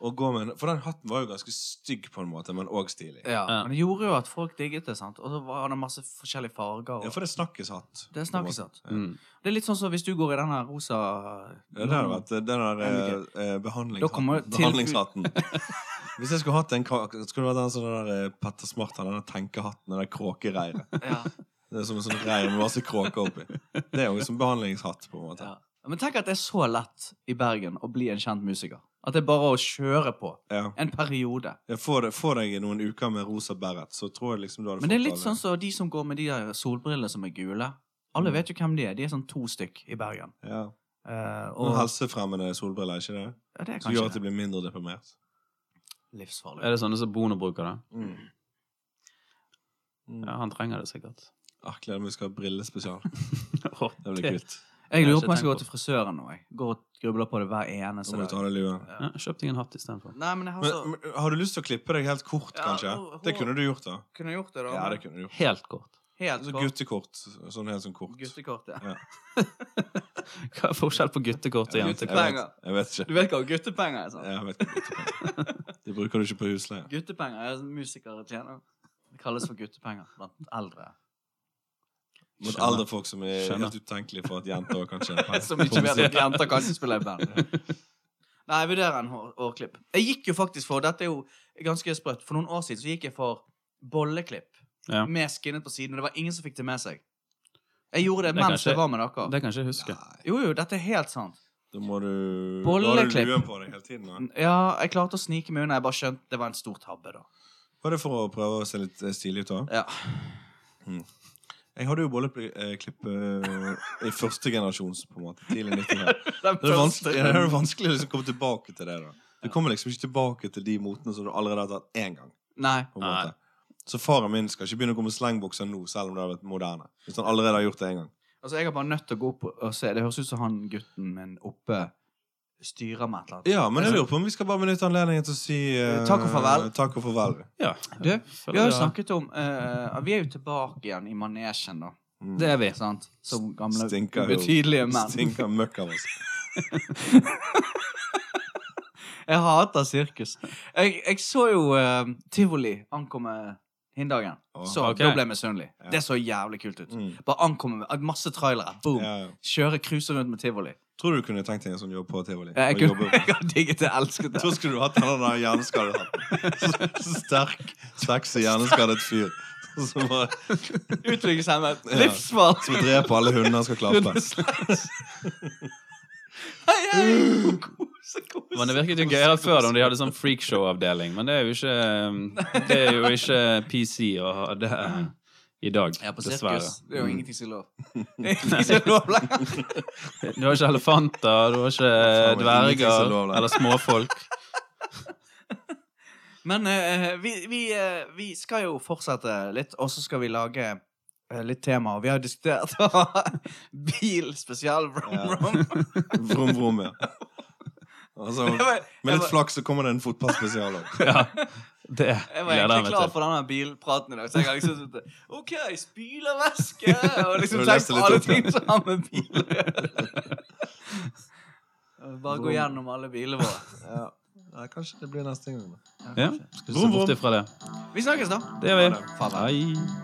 Og gå med en, for den hatten var jo ganske stygg, på en måte, men òg stilig.
Ja.
Ja.
Men det gjorde jo at folk digget det, sant. Og så var det masse forskjellige farger.
Ja,
Og...
for det er snakkishatt.
Det er snakkishatt.
Ja.
Mm.
Det er litt sånn som hvis du går i den her rosa
Ja, det hadde vært eh, den der eh, eh, behandlingshatten.
Da kommer til-
behandlingshatten. Hvis jeg skulle hatt en kak, skulle det vært den sånn der eh, Petter Smart har den der tenkehatten, den der kråkereiret.
Ja.
Det er som en sånn reir med masse kråker oppi. Det er jo som behandlingshatt, på en måte.
Ja. Men tenk at det er så lett i Bergen å bli en kjent musiker. At det er bare å kjøre på.
Ja.
En periode.
Ja, få, deg- få deg noen uker med rosa beret, så tror jeg liksom du hadde
Men det er
fått
litt sånn som de som går med de der solbrillene som er gule.
Mm.
Alle vet jo hvem de er. De er sånn to stykk i Bergen.
ja.
Eh,
Noen
og
helsefremmende solbriller, er ikke det?
ja, det er
Som gjør at
kanskje
du blir mindre deprimert.
livsfarlig.
Er det sånne som Bono bruker, da?
Mm. Mm.
Ja, han trenger det sikkert.
Ah, Gleder meg til vi skal ha brillespesial.
Åh,
Det blir kult.
Jeg lurer
Jeg har
på om jeg
ikke
skal gå
tenkt
til frisøren nå. Jeg går og grubler på det hver
Så må
eneste
du ta
dag.
av deg lua.
ja, Kjøp deg en hatt istedenfor.
Nei, men jeg har
Men,
så
men har du lyst til å klippe deg helt kort,
Ja,
kanskje?
hår-
Det kunne du gjort, da.
Kunne gjort det, da.
Ja,
men
det kunne du gjort.
Helt kort.
Helt
Så
kort.
guttekort. Sånn helt sånn kort.
Guttekortet.
Hva er forskjell på guttekort og
Ja,
Jeg
jentekort?
vet,
Guttepenger.
jeg vet ikke.
Du vet hva guttepenger er? sånn?
Ja, Jeg
sant?
vet ikke. guttepenger. Det bruker du ikke på husleie.
Guttepenger er sånn musikere tjener. Det kalles for guttepenger blant eldre.
Mot
Skjønner.
eldre folk som er
Skjønner.
helt utenkelige for at jenter kan tjene penger.
Som ikke vet at jenter kanskje spiller i band. Nei, jeg vurderer en hår, hårklipp. Jeg gikk jo faktisk for Dette er jo ganske sprøtt. For noen år siden så gikk jeg for bolleklipp
Ja.
med skinnet på siden, og det var ingen som fikk det med seg. Jeg gjorde det,
Det er
mens
kanskje-
jeg var med dere.
Det kan jeg ikke huske.
Nei,
Jo, jo, dette er helt sant.
Da må du Da har
Bolleklipp.
du luen på deg hele tiden. Da.
Ja, jeg klarte å snike meg unna. Jeg bare skjønte det var en stor tabbe, da.
Var det for å prøve å se litt eh, stilig ut, da?
Ja.
Jeg hadde jo bolleklipp eh, i første generasjons, på en måte. Tidlig 90-tall.
Den
Det er
første-
vanskelig, ja, det er vanskelig å liksom komme tilbake til det, da. Du kommer liksom ikke tilbake til de motene som du allerede har tatt én gang.
Nei.
på en måte. Så faren min skal ikke begynne å gå med slengbukser nå, selv om det har vært moderne. Hvis han allerede har gjort det en gang.
Altså, jeg er bare nødt til å gå opp og se. Det høres ut som han gutten min oppe styrer med et eller annet.
Ja, men jeg lurer på om vi skal bare benytte anledningen til å si eh,
Eh, takk og farvel.
Takk og farvel.
Ja.
Du,
jeg føler
Vi har jo
det-
snakket om eh, Vi er jo tilbake igjen i manesjen, da.
Mm.
Det er vi.
Sant? Som gamle,
Stinker jo-
betydelige menn.
Stinker møkk av oss.
Jeg hater sirkus. Jeg, jeg så jo eh, tivoli ankomme hindagen.
Åh,
så
ok.
da ble jeg misunnelig.
Ja.
Det så jævlig kult ut.
Mm.
Bare ankomme med masse trailere. Boom.
Ja, ja.
Kjøre cruise rundt med tivoli.
Tror du du kunne tenkt deg en sånn jobb på tivoli?
Jeg,
Og
kunne,
jobbe-
jeg har digget det. Jeg elsket det.
Så skulle du hatt han der hjerneskadet han. Så, så sterk, sexy, hjerneskadet fyr. Som, bare-
Utviklingshemmet.
Ja.
Livsfarlig.
som dreper alle hundene han skal klappe.
Hei, hei! Kose, kose.
Men det virket jo gøyere før om de hadde sånn freakshow-avdeling. Men det er jo ikke um, Det er jo ikke PC å ha det i dag,
Ja, på
dessverre.
sirkus. Det er jo
Mm.
ingenting som er lov. Det er ingenting som er lov lenger.
Du har ikke elefanter, du har ikke eh,
Faen, det er ingenting som er
dverger
lov, da.
eller småfolk.
Men eh, vi, vi, eh, vi skal jo fortsette litt, og så skal vi lage eh, litt temaer. Vi har jo diskutert å ha bil spesial, brom,
Ja.
brom.
Vrom, vrom, ja. Altså,
Jeg var,
med
jeg
litt
var,
flaks så kommer det en fotballspesial òg.
Ja, det
jeg
gleder
var
jeg
egentlig
meg
klar
til.
for denne bilpraten i dag, så jeg har liksom sittet OK, spylervæske Og liksom
Du
tenkt
leste
på
litt
alle
opp, ja.
ting som har med bil å gjøre. Bare gå gjennom alle bilene våre.
Ja. Nei, kanskje det blir neste gang.
Ja, skal vi se bort ifra det.
Vi snakkes, da.
Det gjør vi. Hei.